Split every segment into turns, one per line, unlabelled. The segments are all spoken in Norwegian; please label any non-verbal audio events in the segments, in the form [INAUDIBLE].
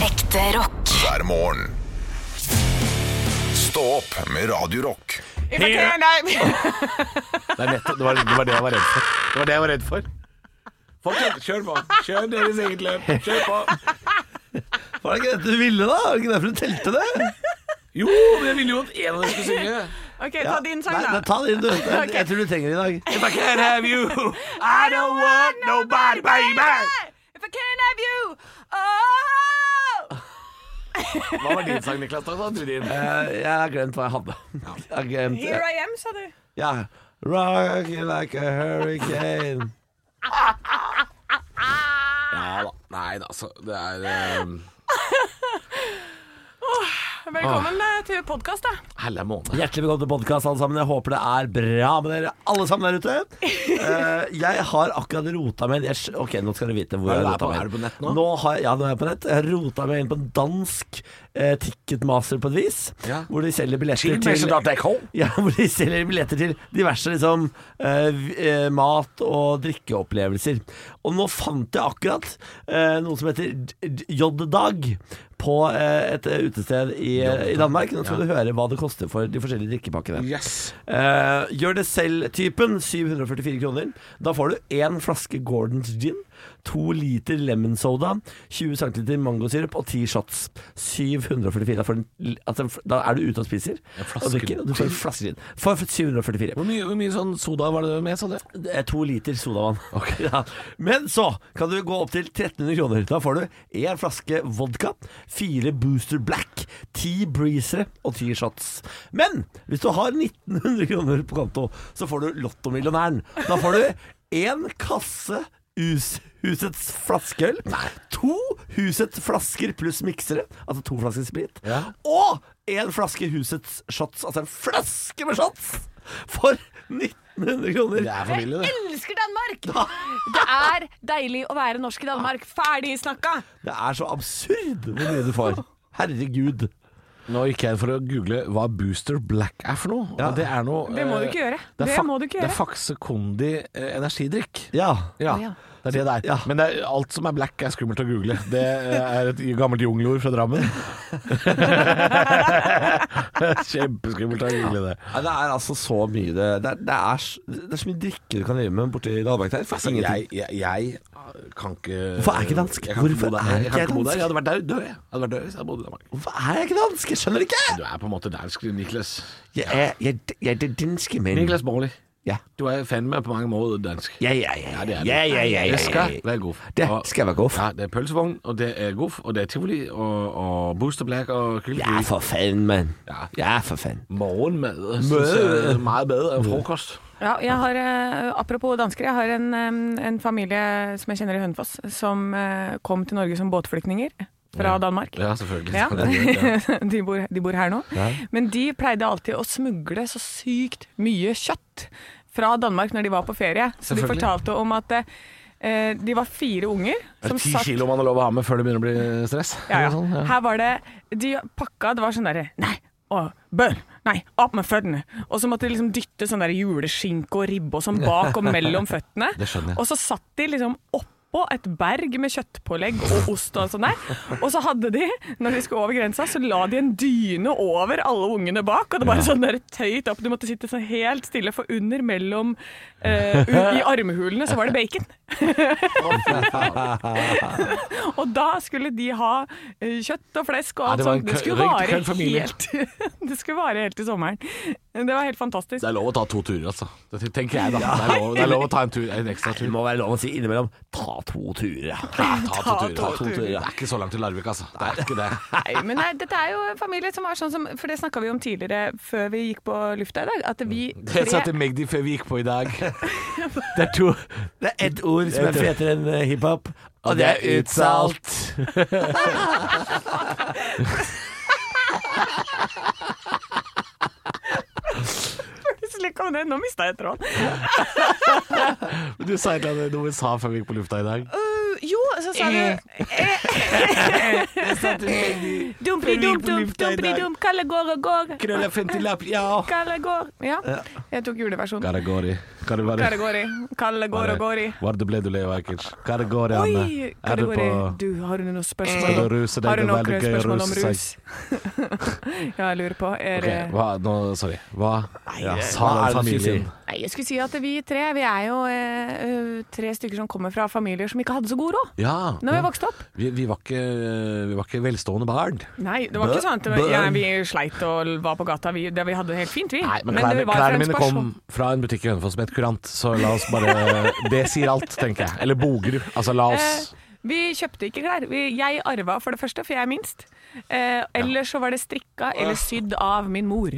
Ekte rock.
hver morgen. Stå opp med Radio Rock.
If I can, [LAUGHS] I...
Det, er nettopp, det, var, det var det jeg var redd for. Det var det jeg var redd for. Fortsett, kjør på. Kjør deres eget løp. Kjør på.
Var det ikke dette du ville, da? Var det ikke derfor du telte det?
Jo, jeg ville jo at en av dere skulle synge.
OK, ta din sang,
Nei,
da.
nei, ta din, du. Jeg,
[LAUGHS] Ok.
jeg tror du trenger det i dag.
If I can't have you, I don't want nobody, baby.
If I can have you oh.
Hva var din sang, Niklas? Takk for at du din.
Eh, Jeg har glemt hva jeg hadde. Jeg har glemt
Here I am, sa du.
Ja. Rock you like a hurricane.
Ja da. Nei da, altså. Det er eh,
Velkommen eh, til podkast, da.
helle måned.
Hjertelig velkommen til podkast, alle sammen. Jeg håper det er bra med dere alle sammen der ute. Eh, jeg har akkurat rota meg inn jeg, skj- Ok, nå skal dere vite hvor
Er
jeg
du
har
der
rota
på-
meg inn.
er du på nett nå?
har jeg, ja, nå er jeg på nett. Jeg har rota meg inn på en dansk eh, ticketmaster på et vis,
Ja.
hvor de selger billetter til
Chillmation.com.
[LAUGHS] ja, hvor de selger billetter til diverse liksom, eh, v- eh, mat- og drikkeopplevelser. Og nå fant jeg akkurat eh, noe som heter D- D- J-dag på eh, et eh, utested i, i Danmark. Nå skal du høre hva det koster for de forskjellige drikkepakkene.
Yes.
Eh, gjør det selv-typen, 744 kroner. Da får du én flaske Gordons gin, to liter lemon soda, 20 cm mangosyrup og ti shots. 744. Da, får du en, l- altså, f- da er du ute og spiser og
flaske
drikker, og du får en flaske gin. For 744.
Hvor mye, hvor mye sånn soda var det med, sa du?
Det er to liter
[LAUGHS]
sodavann. Ja. Men så kan du gå opp til 1300 kroner. Da får du én flaske vodka, fire Booster Black, ti breezere og ti shots. Men hvis du har 1900 kroner på konto, så får du Lottomillionæren. Da får du én kasse us husets flaskeøl, to husets flasker pluss miksere, altså to flasker sprit,
Ja.
og én flaske husets shots, altså en flaske med shots, for 1900 kroner.
Det er for mye, det.
Elsker Danmark!
[LAUGHS]
Det er deilig å være norsk i Danmark. Ferdig snakka!
Det er så absurd hvor mye du får. Herregud.
Nå gikk jeg for å google hva Booster Black er for noe. og
Ja.
Det er noe
Det må du
eh,
ikke gjøre.
Det, er
Det
fak-
må du ikke
det er
gjøre.
Faxe Kondi eh, energidrikk.
Ja.
Ja,
Ja.
det er det det er.
Ja.
Men det er, alt som er black er skummelt å google. Det eh, er et gammelt jungelord fra Drammen. [LAUGHS] Kjempeskummelt å google det.
Nei, det er altså så mye det Det er, det er, s- det er så mye drikke du kan drive med borti Dalberg der.
Altså, jeg, jeg, jeg kan ikke
Hvorfor er jeg ikke dansk?
Jeg kan ikke
Hvorfor
bo der.
er ikke
Jeg, kan
jeg
ikke bo der.
dansk?
Jeg hadde vært død, død. jeg. Jeg hadde vært død hvis jeg bodde i Danmark.
Hvorfor er jeg ikke dansk? Jeg skjønner ikke!
Du er på en måte dansk, Niklas.
Jeg er, jeg, jeg er det danske men
Niklas Borli.
Ja.
Du er fandme på mange måter dansk.
Ja, ja, ja.
Ja, det er du.
ja, ja, ja, ja,
Det
ja,
skal
ja.
være goff.
Det
Og-
skal være goff.
Ja, det er pølsevogn, og det er goff, og det er tivoli, og, og Booster Black og kyllingfri.
Ja, for faen, mann.
Ja.
Ja, for faen.
Morgenmad synes jeg er meget bedre enn frokost.
Ja, jeg har, eh, apropos dansker, jeg har en, eh, en familie som jeg kjenner i Hønefoss, som eh, kom til Norge som båtflyktninger fra Danmark.
Ja, selvfølgelig.
Ja.
[LAUGHS] Ja.
[LAUGHS] de, bor, de bor her nå. Men de pleide alltid å smugle så sykt mye kjøtt fra Danmark når de var på ferie. Så de
Selvfølgelig.
fortalte om at eh, de var fire unger
Er
som
det ti
satt
kilo man har lov å ha med før det begynner å bli stress?
ja,
Eller sånn,
ja. Her var det De pakka, det var sånn derre Nei, å, bønn! Nei, opp med føttene! Og så måtte de liksom dytte sånn der juleskinke og ribbe og sånn bak og mellom føttene.
[LAUGHS] Det skjønner jeg.
Og så satt de liksom oppå et berg med kjøttpålegg og ost og alt sånt der. Og så hadde de, når de skulle over grensa, så la de en dyne over alle ungene bak. Og det bare sånn der tøyt opp. Du måtte sitte sånn helt stille, for under, mellom eh, u- I armhulene så var det bacon. Og da skulle de ha eh, kjøtt og flesk og
Ja,
alt
det var en
sånt. Det
kø-
skulle,
røykt
vare
kødd familie.
helt, [LAUGHS] det skulle vare helt til sommeren. Det var helt fantastisk.
Det er lov å ta to turer, altså. Det tenker jeg, da. Det er lov, det er lov å ta en, tur, en ekstra
Det
tur.
må være lov å si innimellom ta to turer. ja.
Ja, ta to
Ta
turer.
to
Ta to
turer.
turer. Det er ikke så langt til Larvik, altså. Det er ikke [LAUGHS] det.
Nei, men nei, dette er jo en familie som var sånn som For det snakka vi om tidligere før vi gikk på lufta i dag. At vi
Mm. Det sa til Magdi før vi gikk på i dag.
[LAUGHS] Det er to Det er ett ord som er fetere enn eh, hiphop, og det er utsalt.
Plutselig kom det Nå mista jeg tråden.
Du sa et
Øh,
eller annet noe vi sa før vi gikk på lufta i dag. [LAUGHS]
jo, så sa du [LAUGHS] Dumpli-dump-dump-dump-dump, Kalle går og går.
Krølla femtilapp, ja.
Kalle går. Ja, jeg tok juleversjonen.
Karagori.
Kalle går i. Kalle går og går i.
Var det ble du Leo Ajkic? Karagori, Anne.
Oi,
Er
Kalle
du
går
på
i. Du, har du noen spørsmål
Skal
om
du ruse deg?
Har du
Det er
noen
veldig gøy å
spørsmål om
ruse
rus? [LAUGHS] ja, jeg lurer på. Er
Ok,
det
hva, nå, sorry. Hva ja, sa
Hva er det du skulle
den familien?
si?
Nei, jeg skulle si at vi tre vi er jo eh, eh, tre stykker som kommer fra familier som ikke hadde så god råd
Ja,
når vi vokste opp.
vi, vi, var ikke, vi var ikke velstående barn.
Nei, det var ikke
Bø-
sånn at det var- ja, vi sleit og var på gata. Vi, det, vi hadde det helt fint, vi.
Nei, men
det
klærne,
var for en
klærne mine
spørsmål.
kom fra en butikk i Hønefoss som het Kurant, så la oss bare Det sier alt, tenker jeg. Eller Bogerud. Altså, la oss
Eh, vi kjøpte ikke klær. Vi, jeg arva for det første, for jeg er minst. Eh, eller så var det strikka eller sydd av min mor.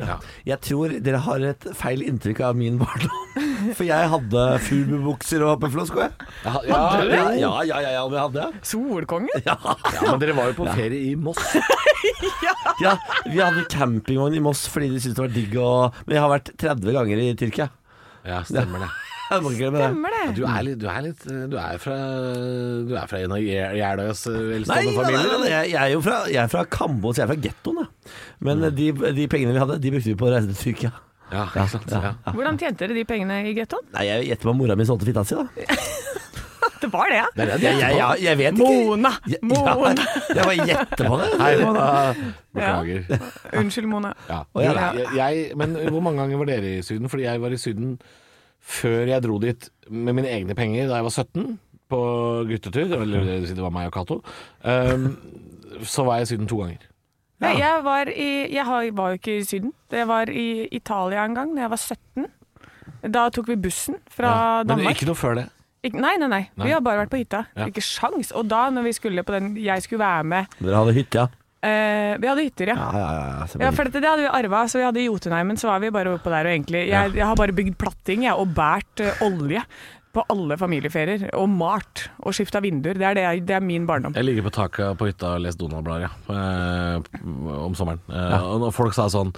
Jeg tror dere har et feil inntrykk av min barndom. [LAUGHS] For jeg hadde furubukser og hoppeflosk. og jeg.
ja,
Ja,
ja,
ja, ja, ja, ja, om jeg hadde.
Solkongen?
Ja.
Men dere var jo på ferie i Moss.
[LAUGHS] ja, vi hadde campingvogn i Moss fordi de syntes det var digg å Men jeg har vært 30 ganger i Tyrkia.
Ja, stemmer det.
Jeg må ikke glemme det.
Stemmer det?
Du er litt Du er, litt, eh, du er fra Du er fra en av Gjer- Jeløyas
Nei,
velstående
nei, nei,
familier?
nei, jeg, jeg er jo fra, jeg er fra Kambo, så jeg er fra gettoen. jeg. Men
Mm.
de, de pengene vi hadde, de brukte vi på å reise til Tyrkia.
Ja, ikke sant. Ja.
Hvordan tjente dere de pengene i gettoen?
Nei, jeg gjetter på at mora mi solgte fitta si, da.
Det var det, ja.
Det er det
Jeg,
jeg
jeg, jeg, jeg vet ikke.
Mona!
Jeg-
Mona!
Ja, jeg bare gjetter på det.
Nei, beklager.
Unnskyld, Mona.
Ja.
Å, ja.
Jeg, jeg, men hvor mange ganger var dere i Syden? Fordi jeg var i Syden før jeg dro dit med mine egne penger da jeg var 17, på guttetur. Eller det vil si det var meg og Cato. Um, så var jeg i Syden to ganger.
Nei, jeg var, i, jeg har- var jo ikke i Syden. Jeg var i Italia en gang da jeg var 17. Da tok vi bussen fra
Ja. Men
Danmark.
ikke noe før det.
Ikk- nei, nei, nei,
Nei.
Vi har bare vært på hytta.
Ja.
Ikke sjans. Og da, når vi skulle på den jeg skulle være med
Dere hadde hytte, ja.
eh, Vi hadde hytter, ja.
Ja, ja, ja, ja.
Ja,
selvfølgelig.
for dette, det hadde vi arva, så vi hadde i Jotunheimen, så var vi bare oppå der og egentlig Jeg, jeg har bare bygd platting, jeg, og bært eh, olje på alle familieferier. Og malt og skifta vinduer. Det er, det, jeg, det er min barndom.
Jeg ligger på taket på hytta og leser Donald-blader, ja. Eh, om sommeren. Eh, Og når folk sa sånn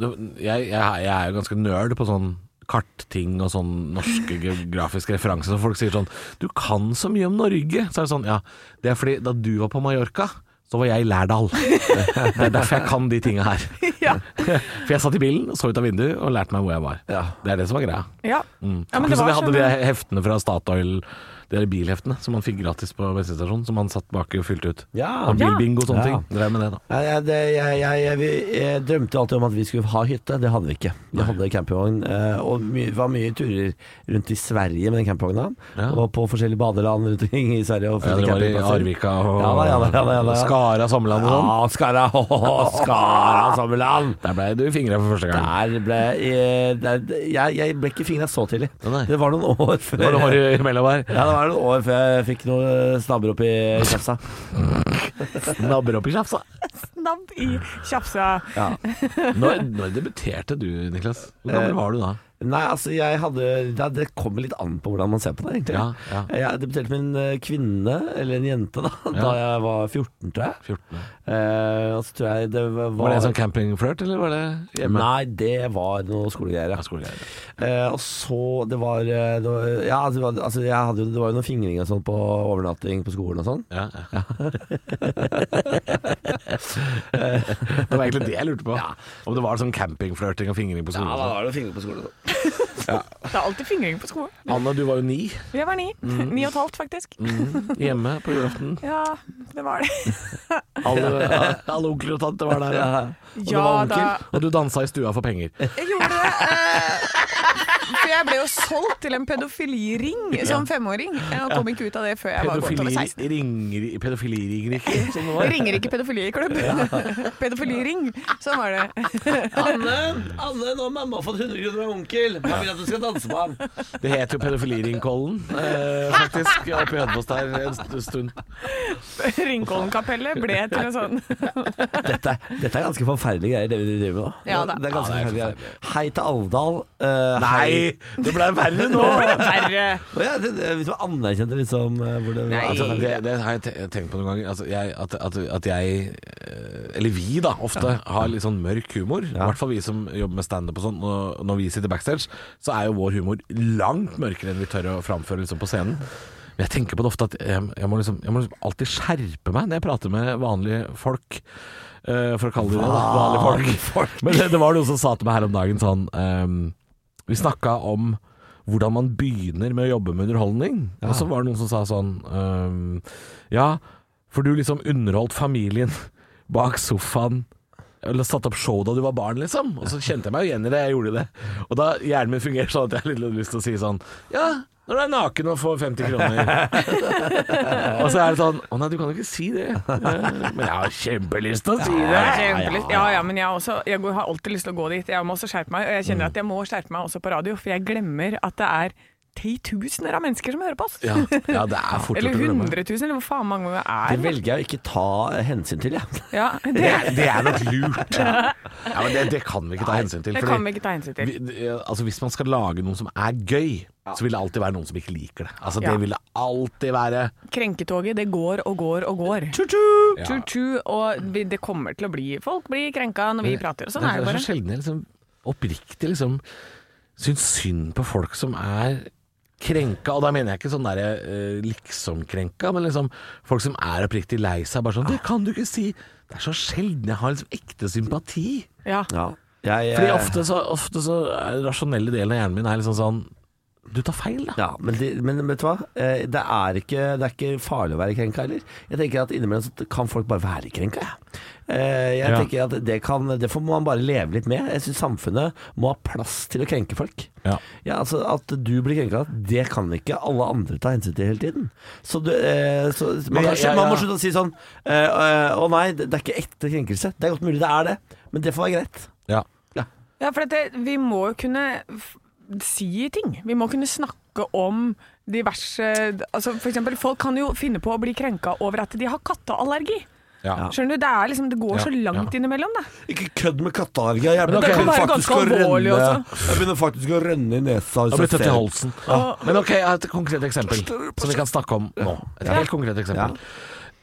jeg, jeg, jeg er jo ganske nerd på sånn kartting og sånn norske geografiske referanser. Så folk sier sånn Du kan så mye om Norge! Så er det sånn Ja, det er fordi da du var på Mallorca, så var jeg i Lærdal. [LAUGHS] Det er derfor jeg kan de tinga her. [LAUGHS]
[LAUGHS] Ja,
For jeg satt i bilen, så ut av vinduet og lærte meg hvor jeg var.
Ja.
Det er det som er greia.
ja. ja men det
Pluss at
var
jeg Mm. hadde
sånn
de heftene fra Statoil, de der bilheftene som man fikk gratis på bensinstasjonen, som man satt baki og fylte ut.
Ja.
Og bilbingo og sånne
Ja.
ting. Drev med det, da.
Nei, jeg, det, jeg, jeg, jeg, vi- jeg drømte alltid om at vi skulle ha hytte. Det hadde vi ikke. Vi hadde campingvogn, eh, og my, var mye turer rundt i Sverige med den campingvogna.
Ja.
Og på forskjellige badeland rundt omkring i Sverige. Og
Ja, dere var i
campingplasser.
Arvika og
Ja da, ja da, ja da, ja da.
og Skara, Samland og sånn.
Ja, Skara, ho, ho, ho, Skara Sommerland!
Der blei du fingra for første gang.
Der ble eh, der, jeg, jeg ble ikke fingra så tidlig.
Å, nei.
Det var noen år før
Det var noe hår imellom her.
ja, det var noen år før jeg fikk noen snabber opp i
[LAUGHS]
kjefsa.
Nabber opp i kjafsa.
snabb i tjafsa.
Når, når debuterte du, Niklas? Hvor gammel
Eh,
var du da?
Nei, altså jeg hadde Det, det kommer litt an på hvordan man ser på det, egentlig.
Ja, ja.
Jeg debuterte med en eh, kvinne, eller en jente, da [LAUGHS] Da jeg var 14, tror jeg.
14.
Eh, og så tror jeg det var
Var det en sånn campingflørt, eller var det hjemme?
Nei, det var noe skolegreier.
Ja,
Ja.
skolegreier.
Eh, og så Det var, eh, det var Ja, altså, det var- altså jeg hadde, jo- det var jo noen fingring og sånn på overnatting på skolen og sånn.
Ja, ja. det var egentlig det jeg lurte på. Om det var sånn campingflørting og sånn. fingring på skolen.
det fingring på skolen.
Det er alltid fingring på skoen.
Anne, du var jo ni
Jeg var ni.
Mm.
Ni og et halvt, faktisk.
hjemme på julaften.
Ja, det var det.
Alle, alle onkler og tanter var der. Ja. Og du
Ja
var
da.
onkel, og du dansa i stua for penger.
Jeg gjorde det. eh, For jeg ble jo solgt til en pedofiliring som femåring. Og kom ikke ut av det før jeg var godt over 16.
Pedofili- ringer- Pedofiliringer, ikke? Som det var.
Ringer ikke pedofilklubb. Pedofiliring. Sånn var det.
Anne, Anne, nå har mamma fått 100 kroner av onkel. Jeg vil at du skal danse på ham.
Det het jo Pedofiliringkollen, eh, faktisk, oppe i Hønefoss der en st- stund.
Ringkollenkapellet ble til en sånn
Dette, dette er ganske forferdelige greier, det vi driver med nå.
Ja, det-
det er ganske
Ja, det er
forferdelige greier. Hei til Alvdal. eh, hei-
Nei, det ble verre nå!
verre.
[LAUGHS] Å ja, det, det, hvis man anerkjente liksom eh, hvor det
Nei.
Altså,
Altså, det, det har jeg te- tenkt på noen ganger. Altså, jeg, at, at, at jeg, eh, eller vi da, ofte har litt sånn mørk humor. I hvert fall vi som jobber med standup og sånn. Når, når vi sitter backstage, så er jo vår humor langt mørkere enn vi tør å framføre liksom, på scenen. Men jeg tenker på det ofte at jeg, jeg, må liksom, jeg må liksom alltid skjerpe meg når jeg prater med vanlige folk. eh, for å kalle det det, da. Vanlige folk. Men det, det var noen som sa til meg her om dagen sånn ehm, Vi snakka om hvordan man begynner med å jobbe med underholdning. Og så var det noen som sa sånn ehm, Ja, for du liksom underholdt familien [LAUGHS] bak sofaen. Eller satt opp show da du var barn, liksom. Og så kjente jeg meg jo igjen i det. Jeg gjorde det. Og da hjernen min fungerer sånn at jeg har litt lyst til å si sånn Ja, når du er naken og får 50 kroner. [LAUGHS] og så er det sånn Å nei, du kan jo ikke si det. Men jeg har kjempelyst til å si det.
Kjempelyst. Ja, ja, men jeg, har også, jeg går- har alltid lyst til å gå dit. Jeg må også skjerpe meg, og jeg
Mm.
kjenner at jeg må skjerpe meg også på radio, for jeg glemmer at det er titusener av mennesker som hører på oss.
Ja, ja, det er fort
Eller
gjort å glemme.
100 000, eller hvor faen mange det
Det
er.
velger jeg å ikke ta hensyn til, jeg.
Ja,
Det
det,
er, det er nok lurt. Ja, men det, det kan vi ikke ta hensyn til.
det
fordi
kan vi ikke ta hensyn til.
vi, det- altså Hvis man skal lage noe som er gøy, så vil det alltid være noen som ikke liker det. Altså Det
Ja.
vil det alltid være.
Krenketoget, det går og går og går.
Ja.
Tju-tju, og vi- det kommer til å bli Folk blir krenka når vi prater, og sånn er det
er
bare.
så sjelden jeg liksom oppriktig liksom syns synd på folk som er krenka, og da mener jeg ikke sånn derre eh, liksom-krenka, men liksom folk som er oppriktig lei seg. Bare sånn
Ah.
'Det kan du ikke si!' Det er så sjelden jeg har liksom ekte sympati.
Ja.
Ja. Jeg,
Fordi
eh,
ofte så, ofte så er den rasjonelle delen av hjernen min er liksom sånn Du tar feil, da.
ja, men, det, men vet du hva? Eh, Det er, ikke, det er ikke farlig å være krenka heller. Jeg tenker at innimellom så kan folk bare være krenka. jeg. Eh, Jeg
Ja.
tenker at det, kan, det får man bare leve litt med. Jeg syns samfunnet må ha plass til å krenke folk.
Ja.
Ja, altså At du blir krenka, det kan ikke alle andre ta hensyn til hele tiden. Så, du, eh, så man, kan,
Men jeg- jeg-
man må
jeg-
slutte å si sånn eh, eh, Å nei, det det er ikke ekte krenkelse. Det er godt mulig det er det, men det får være greit.
Ja.
Ja, for dette, vi må jo kunne f- si ting. Vi må kunne snakke om diverse altså for eksempel, Folk kan jo finne på å bli krenka over at de har katteallergi.
Ja.
Skjønner du? Det, er liksom, det går så
Ja,
langt
ja.
innimellom, det.
Ikke kødd med katteallergi. Jeg
det kan
være ganske alvorlig
jeg begynner faktisk å renne i nesa.
Da blir det tett i halsen. Men ok, jeg har et konkret eksempel som vi kan snakke om nå. Et helt konkret eksempel.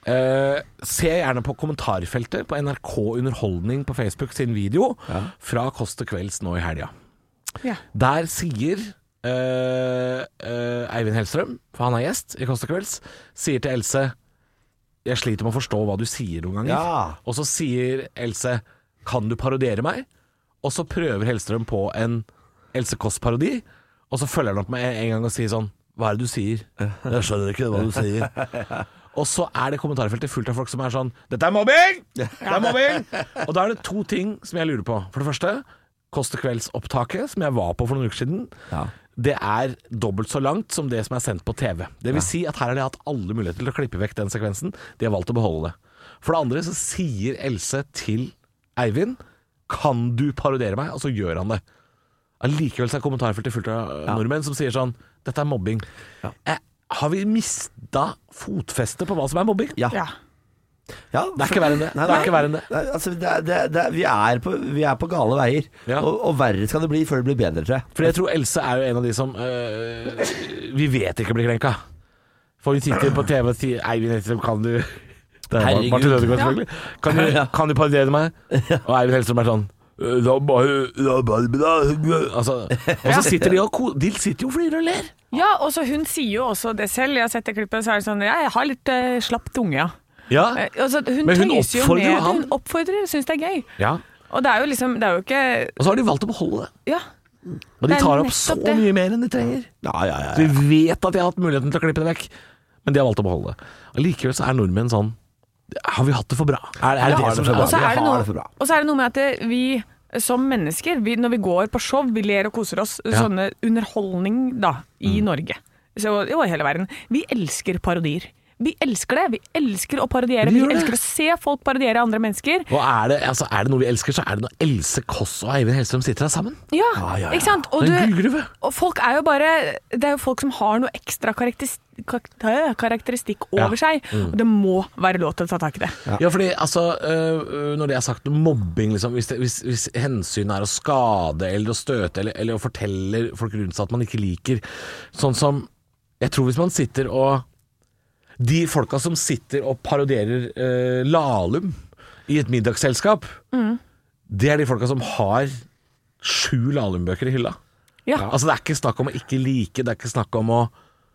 Eh, se gjerne på kommentarfeltet på NRK Underholdning på Facebook sin video fra Kåss til kvelds nå i helga.
Ja.
Der sier eh, eh, Eivind Hellstrøm, for han er gjest i Kåss til kvelds, sier til Else Jeg sliter med å forstå hva du sier noen ganger.
Ja.
Og så sier Else Kan du parodiere meg? Og så prøver Hellstrøm på en Else Kåss-parodi, og så følger han opp med en gang og sier sånn Hva er det du sier? Jeg skjønner ikke hva du sier. [LAUGHS] Og så er det kommentarfeltet fullt av folk som er sånn Dette er mobbing! Det er mobbing! [LAUGHS] Og da er det to ting som jeg lurer på. For det første, Kåss til kvelds-opptaket, som jeg var på for noen uker siden,
Ja.
det er dobbelt så langt som det som er sendt på TV. Det vil si at her har de hatt alle muligheter til å klippe vekk den sekvensen. De har valgt å beholde det. For det andre så sier Else til Eivind Kan du parodiere meg? Og så gjør han det. Allikevel så er kommentarfeltet fullt av øh, nordmenn som sier sånn Dette er mobbing. Eh, har vi mista fotfestet på hva som er mobbing?
Ja.
Ja.
Ja,
Det er ikke verre enn det.
Nei,
Det
nei.
er ikke verre enn det.
Nei, altså, det, er- det, er- det, er- vi, er på, vi er på gale veier,
Ja.
og, og verre skal det bli før det blir bedre, tror jeg.
For jeg tror Else er jo en av de som øh, Vi vet ikke blir krenka. For hun sitter på TV og sier Eivind Hellstrøm, kan du Det er
Herregud.
Martin Ødegaard, selvfølgelig. Kan du, kan du parodiere meg? Og Eivind Hellstrøm er sånn «Øh, da bare- da bare- da- altså, Og så sitter de og ko- De sitter jo og flirer og ler.
ja, og så hun sier jo også det selv. Jeg har sett det klippet, så er det sånn Jeg har litt eh, slapp tunge, ja.
Ja.
Eh, altså, hun,
Men hun
tøyser jo
oppfordrer jo
ned.
han.
Hun oppfordrer, syns det er gøy.
ja.
Og det er jo liksom Det er jo ikke
Og så har de valgt å beholde det.
Ja.
Og de
Det er
tar opp så
nettopp det.
mye mer enn de trenger.
Ja, ja, ja.
Så vi vet at de har hatt muligheten til å klippe det vekk, men de har valgt å beholde det. Allikevel så er nordmenn sånn Har vi hatt det for bra? Er, er det
Ja,
det som
det er
skjer?
bra.
Og så
Vi
er det
har
noe,
det for bra.
og så er det noe med at det, vi som mennesker, vi, når vi går på show, vi ler og koser oss.
Ja.
Sånne underholdning da, i Norge. Så, jo, i hele verden. Vi elsker parodier. Vi elsker det. Vi elsker å parodiere. Vi
Vi gjør det.
elsker å se folk parodiere andre mennesker.
Og er det, altså, er det noe vi elsker, så er det når Else Kåss og Eivind Hellstrøm sitter her sammen.
Ja,
ja, ja.
ikke sant? Og,
Det er en
du,
gullgruve.
og folk er jo bare Det er jo folk som har noe ekstra karakteris- kak- karakteristikk over seg.
Mm.
Og det må være lov til å ta tak i det.
Ja, fordi altså, øh, øh, når det er sagt mobbing, liksom, hvis, det, hvis, hvis hensynet er å skade eller å støte eller, eller å fortelle folk rundt seg at man ikke liker Sånn som Jeg tror hvis man sitter og De folka som sitter og parodierer øh, Lahlum i et middagsselskap,
Mm.
det er de folka som har sju Lahlum-bøker i hylla.
Ja.
Altså Det er ikke snakk om å ikke like, det er ikke snakk om å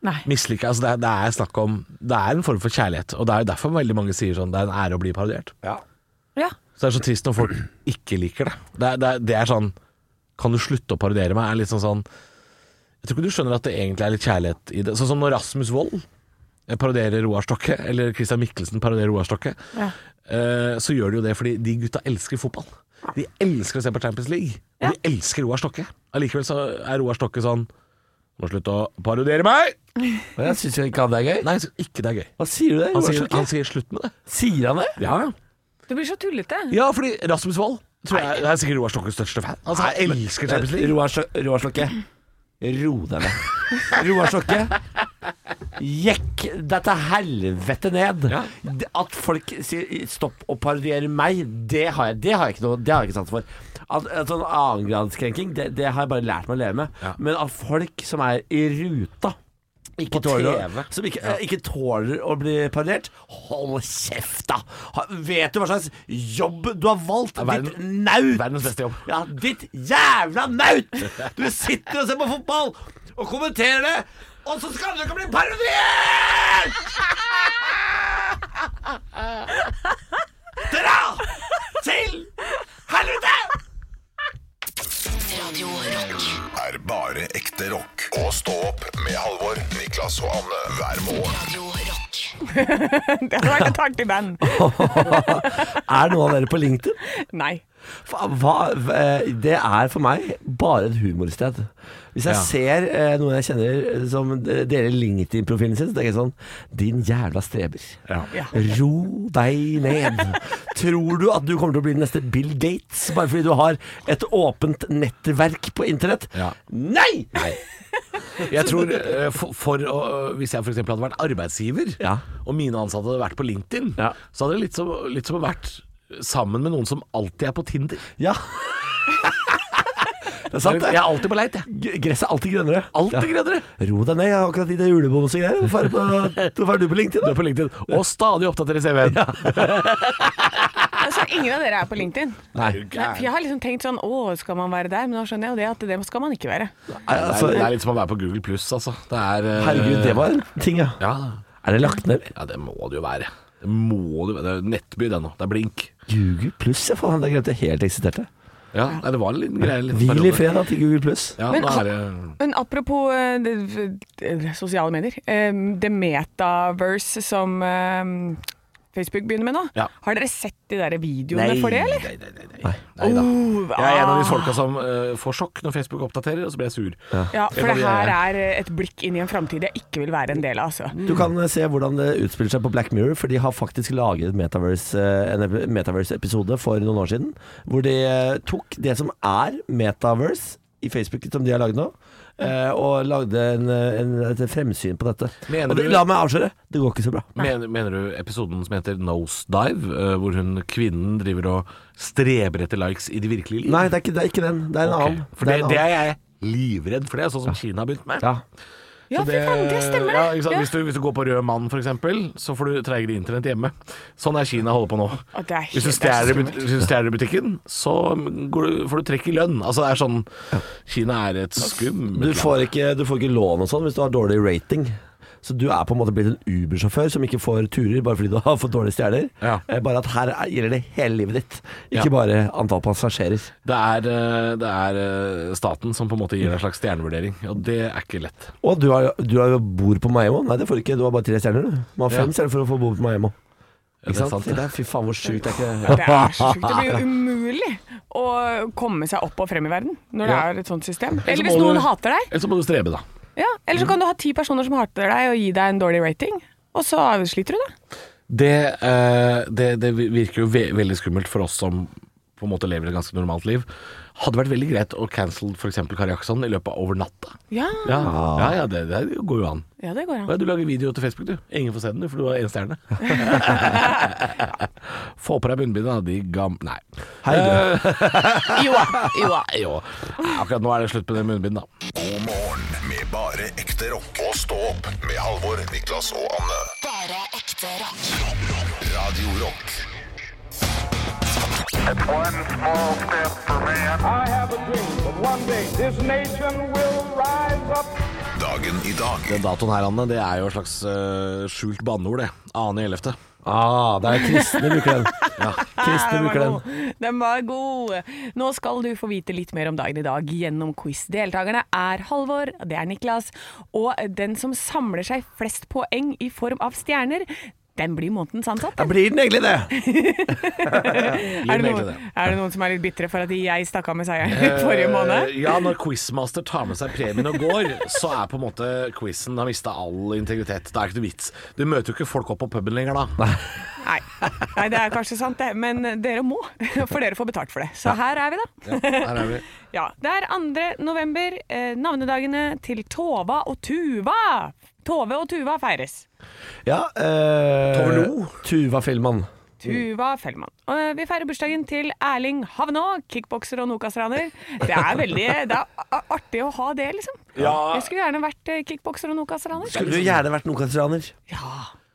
Nei.
Mislike, altså det, er- det er snakk om Det er en form for kjærlighet, og det er jo derfor veldig mange sier sånn det er en ære å bli parodiert.
Ja.
Ja.
Så det er så trist når folk ikke liker det. Det er, det er, det er sånn Kan du slutte å parodiere meg? Er litt sånn sånn Jeg tror ikke du skjønner at det egentlig er litt kjærlighet i det. Sånn som når Rasmus Wold eh, parodierer Roar Stokke, eller Christian Mikkelsen parodierer Roar Stokke,
Ja.
eh, så gjør de jo det fordi de gutta elsker fotball. De elsker å se på Champions League, og de elsker Roar Stokke. Allikevel så er Roar Stokke sånn Må slutte å parodiere meg!
Men jeg syns ikke han det er gøy.
Nei, jeg synes ikke det er gøy.
Hva sier du der?
Han
Roar
sier,
Stokke?
han sier slutt med det.
sier han det?
Ja, ja.
Det blir så tullete. [LAUGHS]
Ja, fordi Rasmus Wold tror jeg, er sikkert Roar Stokkes største fan. Altså, han elsker Champions League.
Roar Stok- Roar Stokke. Ro deg ned. Roar Stokke. Jekk deg til helvete ned.
Ja.
Det- At folk sier 'stopp å parodiere meg', det har jeg, det har jeg ikke noe Det har jeg ikke sans for. At, at sånn annengradskrenking, det, det har jeg bare lært meg å leve med.
Ja.
Men at folk som er i ruta ikke
På
tåler,
TV.
å- som ikke, eh, ikke tåler å bli parodiert. Hold kjeft, da! Ha, vet du hva slags jobb du har valgt?
verden-
Ditt naut!
verdens beste jobb.
Ja, ditt jævla naut! Du sitter og ser på fotball og kommenterer det, og så skal du ikke bli parodiert! Dra til helvete!
Radio Rock.
Er bare ekte rock. Og stå opp med Halvor, Niklas og Anne hver morgen.
Radio Rock.
Det hadde vært et artig
[LAUGHS]
band.
[LAUGHS] Er noen av dere på LinkedIn?
Nei.
Fa- Hva, eh, det er for meg bare et humorsted. Hvis jeg
Ja.
ser eh, noen jeg kjenner eh, som d- deler LinkedIn-profilen sin, så tenker jeg sånn Din jævla streber.
Ja.
Ro deg ned. Tror du at du kommer til å bli den neste Bill Gates bare fordi du har et åpent nettverk på internett?
Ja.
Nei!
Jeg tror, eh, for, for å, Hvis jeg f.eks. hadde vært arbeidsgiver,
Ja.
og mine ansatte hadde vært på LinkedIn,
Ja.
så hadde det litt som, litt som å vært sammen med noen som alltid er på Tinder.
Ja. det er sant,
Jeg
det.
er alltid på leit, jeg.
G- Gresset er alltid grønnere.
Alltid grønnere.
Ro deg ned, jeg har akkurat gitt deg julebonus og greier. Hvorfor er du på- hvorfor er du på LinkedIn?
Du er på LinkedIn, og stadig oppdaterer CV-en.
Altså, ingen av dere er på LinkedIn.
Nei.
Nei, for jeg har liksom tenkt sånn Å, skal man være der? Men nå skjønner jeg jo det at det skal man ikke være.
Nei,
Det,
altså,
er- det er litt som å være på Google pluss, altså. Det er, eh,
Herregud, det var en ting, ja.
ja.
Er det lagt ned? eller?
ja, det må det jo være. Det må det være. Det er jo Nettby, det nå. Det er blink.
Google Pluss, ja, faen. Det glemte jeg helt eksisterte.
Ja, nei, det var en liten greie. en liten
Hvil i
periode.
fred da, til Google Pluss.
Ja,
Men
nå
ha-
er det
Men apropos eh, det, eh, sosiale medier. eh, Det metaverse som eh, Facebook begynner med nå.
Ja.
Har dere sett de der videoene for det, eller? ah.
Nei, nei, nei, nei. nei da.
Oh.
Jeg er en av de folka som eh, får sjokk når Facebook oppdaterer, og så blir jeg sur.
Ja,
Det
for
kan
det
vi
her
gjøre.
er eh, et blikk inn i en framtid jeg ikke vil være en del av, altså.
Mm.
Du kan eh, se hvordan det utspiller seg på Black Mirror, for de har faktisk laget et Metaverse, eh, en ep- Metaverse-episode for noen år siden, hvor de eh, tok det som er Metaverse i Facebook, som de har laget nå, eh, og lagde en, eh, en, et fremsyn på dette.
Mener
og det,
du-
la meg avsløre, det går ikke så bra.
Mener, mener du episoden som heter Nosedive, eh, hvor hun kvinnen driver og streber etter likes i det virkelige liv?
Nei, det er ikke, det er ikke den. Det er en
Ok,
annen.
For det,
en
det
annen.
er jeg livredd for, det er sånn som Kina har begynt med.
Ja.
Ja,
Så
fy faen, det stemmer,
Ja,
det.
ikke sant?
Ja.
Hvis, du, hvis du går på Rød mann, for eksempel, så får du treigere internett hjemme. Sånn er Kina holder på nå.
Å, det er helt-
Hvis
det
du
er så
stjeler i but- hvis du stjeler i butikken, så går du, får du trekk i lønn. Altså, det er sånn Kina er et skummelt
Du
land.
får, ikke, du får ikke lån og sånn hvis du har dårlig rating. Så du er på en måte blitt en Uber-sjåfør som ikke får turer bare fordi du [LAUGHS] har fått dårlige stjerner.
Ja.
Eh, Bare at her er- gjelder det hele livet ditt, ikke
Ja.
bare antall passasjerer.
Det er, eh, det er eh, staten som på en måte gir deg en slags stjernevurdering, og det er ikke lett.
Og du, har, du har jo bor på Maemmo. Nei, det får du ikke. Du har bare tre stjerner, du. Man har fem
Ja.
stjerner for å få bo på Maemmo.
Ja, det
Ikke
er
sant?
sant, det.
Det er- Fy faen, hvor sjukt er ikke
Det er så sjukt. Det blir jo umulig å komme seg opp og frem i verden når det
Ja.
er et sånt system.
Ellers
Eller hvis
må du- Mm.
noen hater deg.
Eller så må du strebe, da.
Ja, Eller så kan du ha ti personer som hater deg og gi deg en dårlig rating, og så sliter du, da.
Det, eh, det, det virker jo ve veldig skummelt for oss som på en måte lever et ganske normalt liv. Hadde vært veldig greit å cancel f.eks. Kari Jaksson i løpet av over natta.
Ja,
Ja, ja, ja det, det går jo an.
ja det går an.
Ja, du lager video til Facebook, du. Ingen får se den, du, for du har én stjerne. [LAUGHS] Få på deg bunnbindet, da. De gam... Nei.
Hei, du.
Jo da, jo da.
Nei, jo. Akkurat nå er det slutt på det munnbindet, da.
God morgen med bare ekte rock. Og stå opp med Halvor, Niklas og Anne.
Bare ekte rock.
Radio Rock
It's one small step for man.
I have a dream that one day this nation will rise up
Dagen i dag.
Den datoen her, Anne, det er jo et slags eh, skjult banneord, det. 2.11.
Ah, det er kristne bruker den. Kristne
Ah, Den var
bruker den.
god. Den var god. Nå skal du få vite litt mer om dagen i dag gjennom quiz. Deltakerne er Halvor, det er Niklas, og den som samler seg flest poeng i form av stjerner, den blir månedens ansatt.
Da blir den egentlig det.
Er det,
egentlig
noen,
det.
er det noen som er litt bitre for at jeg stakk av med seieren [LAUGHS] forrige måned?
Eh, Ja, når quizmaster tar med seg premien og går, så er på en måte quizen har mista all integritet. Det er ikke noe vits. Du møter jo ikke folk opp på puben lenger da.
Nei. Nei, det er kanskje sant det, men dere må, [LAUGHS] for dere får betalt for det. Så her er vi, da. [LAUGHS]
Her er vi.
Ja, Det er 2. november. Eh, navnedagene til Tova og Tuva. Tove og Tuva feires.
Ja, eh,
Tove Lo.
Tuva Fellmann.
Tuva Fellmann. Og eh, vi feirer bursdagen til Erling Havnå, kickbokser og Nokas-raner. Det er veldig det er a- artig å ha det, liksom.
Ja.
Jeg skulle gjerne vært eh, kickbokser og Nokas-raner.
Skulle du gjerne vært nokastrianer?
Ja,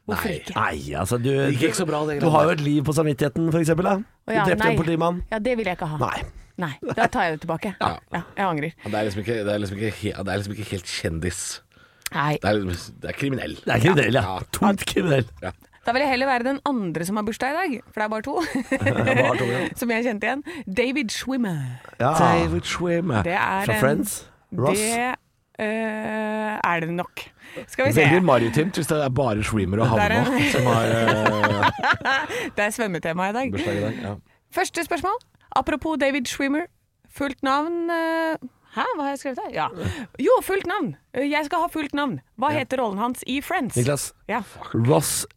hvorfor ikke?
Nei, altså du,
Det gikk ikke så bra, det
du
greiene
har
der.
jo et liv på samvittigheten, for eksempel. Da. Du
Å ja,
drepte
nei.
en politimann.
Ja, det vil jeg ikke ha.
Nei.
Nei, Da tar jeg det tilbake. Ja, Jeg angrer.
Ja, Det er liksom ikke, det er liksom ikke, he, det er liksom ikke helt kjendis.
Nei.
Det er, liksom- det er kriminell.
Det er kriminell, ja.
Ja.
Tungt
[LAUGHS]
kriminell.
Da vil jeg heller være den andre som har bursdag i dag, for det er bare to. [LAUGHS]
Hva har Tove?
som jeg kjente igjen. David Schwimmer.
Ja.
David Schwimmer.
Det er
Fra
en-
Friends. Ross.
Det eh, er det nok. Skal vi se.
Veldig maritimt hvis det er bare Schwimmer og
Det er en-
Havna som har
[LAUGHS]
eh,
Det er svømmetema i dag.
bursdag i dag. Ja.
Første spørsmål. Apropos David Schwimmer. Fullt navn eh, Hæ, hva har jeg skrevet her? Ja. Jo, fullt navn. Eh, Jeg skal ha fullt navn. Hva heter rollen hans i Friends?
Niklas.
Ja,
Ross.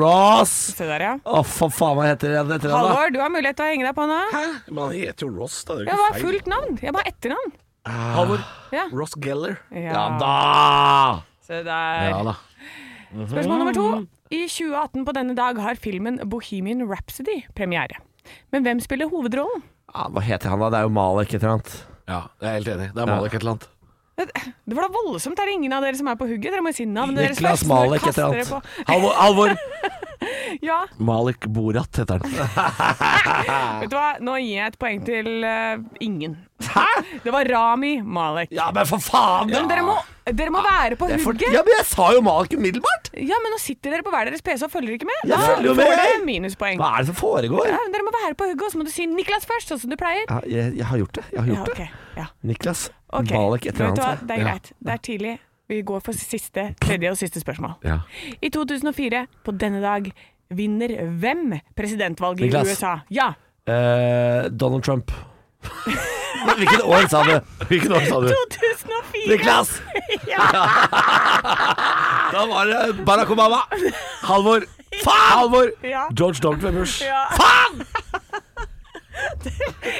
Ross!
se der, ja.
Å, for faen, hva heter det etter han da?
Halvor, du har mulighet til å henge deg på nå.
Hæ? Men han heter jo Ross, da. Det er
Ja, hva
jo ikke
er
feil.
fullt navn? Jeg bare etternavn.
Halvor.
Ja.
Ross Geller.
Ja
Ja,
da!
se der.
Ja da.
Spørsmål nummer to. I 2018 på denne dag har filmen Bohemian Rhapsody premiere. Men hvem spiller hovedrollen?
Ja, hva heter han da? Det er jo Malek et eller annet.
Ja, jeg er helt enig. Det er Malek et eller annet.
Det var da voldsomt. Er det ingen av dere som er på hugget? Dere må si navnet deres først,
Niklas
så dere
Malek et
kaster
eller
dere
annet.
på-
Halvor, Halvor!
Ja,
Malek Borat heter han. [LAUGHS]
Vet du hva, nå gir jeg et poeng til eh, ingen. Det var Rami Malek.
Ja, men for faen!
Men dere må, dere må være på
Det er for,
hugget!
ja, men jeg sa jo Malek umiddelbart!
Ja, men nå sitter dere på hver deres PC og følger ikke med.
Jeg følger jo
får
med.
dere minuspoeng.
Hva er det som foregår?
Ja, men dere må være på hugget, og så må du si Niklas først, sånn som du pleier.
Ja, jeg, jeg har gjort det. Jeg har
Ja,
gjort
ok.
det.
Ja.
Niklas
ok.
Malek et eller
Vet du hva,
annet.
det er greit. Det er tidlig. Vi går for siste, tredje og siste spørsmål.
Ja.
I 2004, på denne dag, vinner hvem presidentvalget
Niklas.
i USA? Ja,
Eh, Donald
[LAUGHS]
Trump. Men Hvilket år sa du?
Hvilket år sa du?
2004! [LAUGHS]
Niklas! Da var det Barack Obama.
Halvor! Faen! Halvor!
Ja.
George W. Bush.
Ja.
Faen!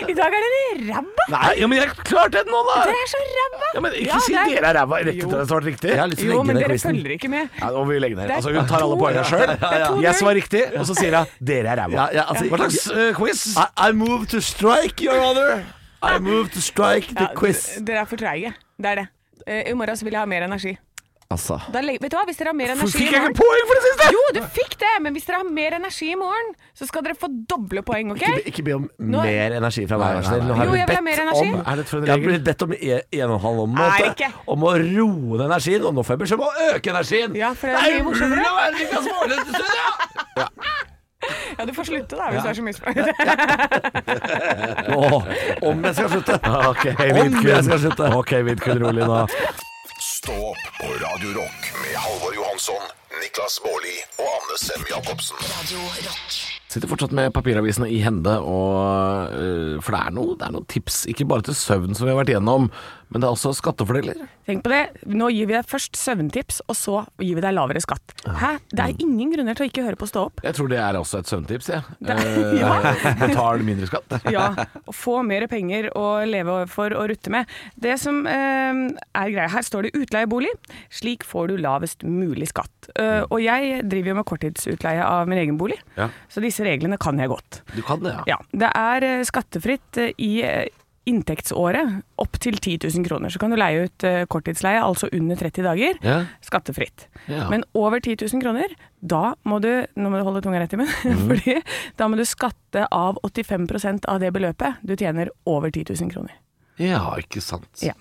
I dag er dere ræva!
Nei, ja, men jeg klarte det nå, da!
[LAUGHS] Dere er så ræva!
Ja, men Ikke
Ja,
si
det er-
dere er ræva rett
Jo.
etter at det har vært riktig.
Jeg har lyst til
Jo,
å legge
men
ned
dere
quizen.
følger ikke med.
Ja, nå må vi legge ned.
Det er
Altså, hun tar alle
to-
poengene sjøl.
er to
Jeg
null.
svarer riktig, og så sier hun 'dere er ræva'.
Ja, ja, altså-
Hva slags eh, quiz?
I, I move to strike, your honor. I move to strike the
Ja,
quiz.
d- Dere er for treige. Det er det. Eh, I morgen så vil jeg ha mer energi.
Altså
Da, leg- vet du hva, Hvis dere har mer energi
Fikk
i
jeg ikke
morgen
poeng for det siste?
Jo, du fikk det! Men hvis dere har mer energi i morgen, så skal dere få doble poeng, OK?
Ikke, be- ikke be om
Nå-
mer energi fra meg,
Nei,
vær så snill.
nei,
Nå
nei.
har
Jo,
blitt
jeg vil ha
bedt
mer energi.
om-
Er dette for en
Jeg har
regel?
blitt bedt om
e-
en, en og en halv om,
Nei,
måte,
ikke.
om å roe ned energien, og nå får jeg beskjed om å øke energien.
Ja, for det
det
er
er
mye morsommere.
umulig å være Niklas Baarli til studio!
Ja, du får slutte da, hvis du er så misfornøyd.
Åh, om jeg skal slutte.
[LAUGHS] Ok,
Vidkun.
Ok, Vidkun, rolig nå.
Stå opp på Radio Rock med Halvor Johansson, Niklas Baarli og Anne Sem Jacobsen.
Radio Rock.
Sitter fortsatt med papiravisene i hende, og, øh, for det er noe- det er noen tips. Ikke bare til søvn, som vi har vært gjennom, men det er også skattefordeler.
[LAUGHS] Tenk på det. Nå gir vi deg først søvntips, og så gir vi deg lavere skatt. Hæ? Det er ingen grunner til å ikke høre på Stå opp.
Jeg tror det er også et søvntips, jeg.
Det-
Eh, Betal mindre skatt.
Ja, og få mer penger å leve for og rutte med. Det som eh, er greia her, står det utleiebolig. Slik får du lavest mulig skatt. Eh, og jeg driver jo med korttidsutleie av min egen bolig,
Mm. Ja.
så disse reglene kan jeg godt.
Du kan det, ja.
Ja, det er eh, skattefritt eh, i eh, inntektsåret opp til 10 000 kroner. Så kan du leie ut eh, korttidsleie, altså under 30 dager,
Ja.
skattefritt.
Ja.
Men over 10 000 kroner, da må du, nå må du holde tunga rett i
Mhm.
munnen, [LAUGHS] fordi da må du skatte av 85 av det beløpet du tjener over 10 000 kroner.
Ja, ikke sant.
Ja.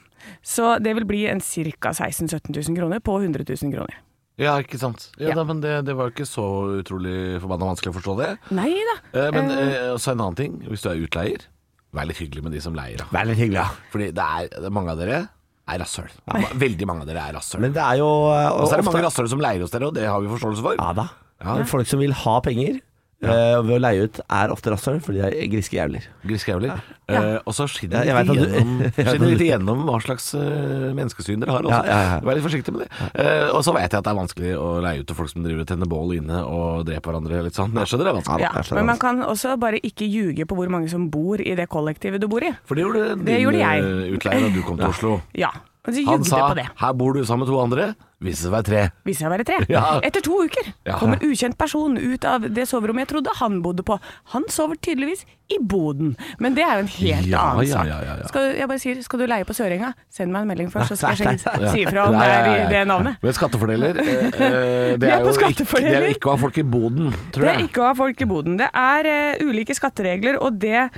Så det vil bli en ca. 16 000-17 000 kroner på 100 000 kroner.
Ja, ikke sant. Ja,
Ja.
Da, men det, det var jo ikke så utrolig forbanna vanskelig å forstå det.
Nei da.
Eh, men
Eh,
eh, også en annen ting, hvis du er utleier, vær litt hyggelig med de som leier. Da.
Vær litt hyggelig, ja.
Fordi det er, det er mange av dere er rasshøl. Veldig mange av dere er rasshøl.
Men det er jo eh,
Og så er det
ofte-
mange rasshøl som leier hos dere, og det har vi forståelse for.
Ja da.
Ja.
Men Folk som vil ha penger eh, ved å leie ut, er ofte rasshøl, fordi de er griske jævler.
Griskjævler. Eh, og så skinner
Ja, jeg vet at
litt
du-
[LAUGHS]
igjennom,
Jeg vet at
skinner litt
du-
igjennom hva slags eh, menneskesyn dere har. Også.
Ja, ja, ja.
Vær litt forsiktig med det. Eh, og så vet jeg at det er vanskelig å leie ut til folk som driver og tenner bål inne og dreper hverandre. Litt sånn. Jeg skjønner det er vanskelig.
Eh, ja.
jeg skjønner
Men man
det.
kan også bare ikke ljuge på hvor mange som bor i det kollektivet du bor i.
For det gjorde din
Det gjorde jeg.
eh, utleier da du kom til Oslo.
Ja. Og så
Han
ljugde
sa
på det.
'her bor du sammen med to andre', viste det seg å være tre.
Viser seg å være tre.
Ja.
Etter to uker
Ja.
kommer ukjent person ut av det soverommet jeg trodde han bodde på. Han sover tydeligvis i boden, men det er jo en helt
Ja,
annen
ja,
sak.
ja, ja, ja.
Skal, jeg bare sier, skal du leie på Sørenga, send meg en melding først, så skal
Nei, nei,
[LAUGHS]
jeg sjekke- si ifra om det er i det navnet.
Men skattefordeler, eh,
[LAUGHS]
eh, det
Vi er
er
på
jo ikke,
skattefordeler.
det er ikke å ha folk i boden, tror
Det er
jeg.
ikke å ha folk i boden. Det er eh, ulike skatteregler, og det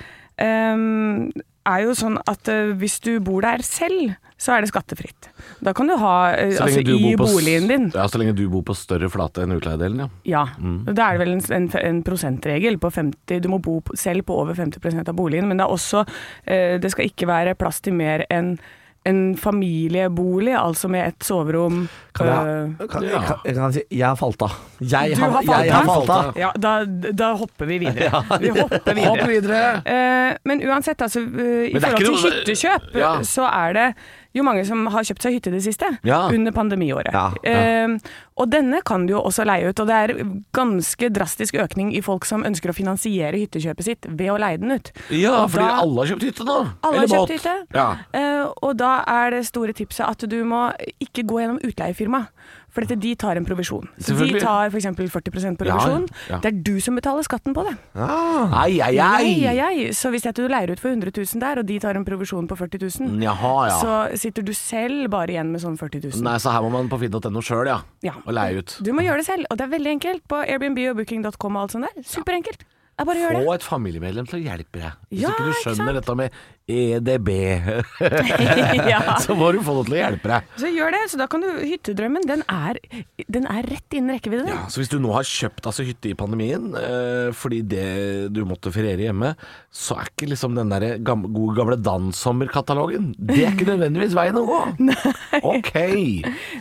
ehm, er jo sånn at eh, hvis du bor der selv, så er det skattefritt. Da kan du ha eh,
Så
altså,
lenge du
i
bor på s-
boligen din.
Ja, så lenge du bor på større flate enn utleiedelen, ja.
Ja,
Mm.
da er det vel en, en, en prosentregel på 50 Du må bo på- selv på over 50 av boligen, men det er også eh, Det skal ikke være plass til mer enn en familiebolig, altså med et soverom.
Kan
øh,
jeg, kan, jeg,
Ja.
kan, jeg kan si jeg har falt av. Jeg,
du
har-
har falt
jeg, har
av? [LAUGHS]
falt av.
Ja, da, da hopper vi
[LAUGHS]
videre. Vi hopper videre.
Hopp videre!
Eh, men uansett, altså, eh, i
Men det er
forhold til
ikke noe-
hyttekjøp,
Ja.
eh, så er det jo mange som har kjøpt seg hytte i det siste,
Ja.
under pandemiåret.
Ja, ja.
Eh, og denne kan du jo også leie ut, og det er ganske drastisk økning i folk som ønsker å finansiere hyttekjøpet sitt ved å leie den ut.
Ja,
Og
fordi
da-
alle har kjøpt hytte nå.
Alle har
Eller
kjøpt
båt.
hytte.
Ja.
Eh, og da er det store tipset at du må ikke gå gjennom utleiefirma. For dette, de tar en provisjon. Så de
Selvfølgelig.
tar f.eks. 40 på
Ja,
revisjon.
ja.
Det er du som betaler skatten på det.
Ai, ai, ai.
Ai, ai, ai. Så hvis jeg du leier ut for 100 000 der, og de tar en provisjon på 40 000,
Jaha, ja.
så sitter du selv bare igjen med sånn 40 000.
Nei, så her må man på finn.no sjøl, ja.
Ja.
Og leie ut.
Du må gjøre det selv, og det er veldig enkelt på Airbnb og booking.com og alt sånt der. Superenkelt. Jeg bare gjør det.
Få et familiemedlem til å hjelpe deg. Hvis
Ja,
ikke du
ikke
skjønner
sant?
dette med EDB,
[LAUGHS] ja.
[LAUGHS] så må du få noen til å hjelpe deg.
Så gjør det, så da kan du Hyttedrømmen, den er, den er rett innen rekkevidde. den.
Ja, så hvis du nå har kjøpt altså, hytte i pandemien eh, fordi det du måtte feriere hjemme, så er ikke liksom den der gam gode gamle danssommerkatalogen Det er ikke nødvendigvis veien å
[LAUGHS]
gå. Ok.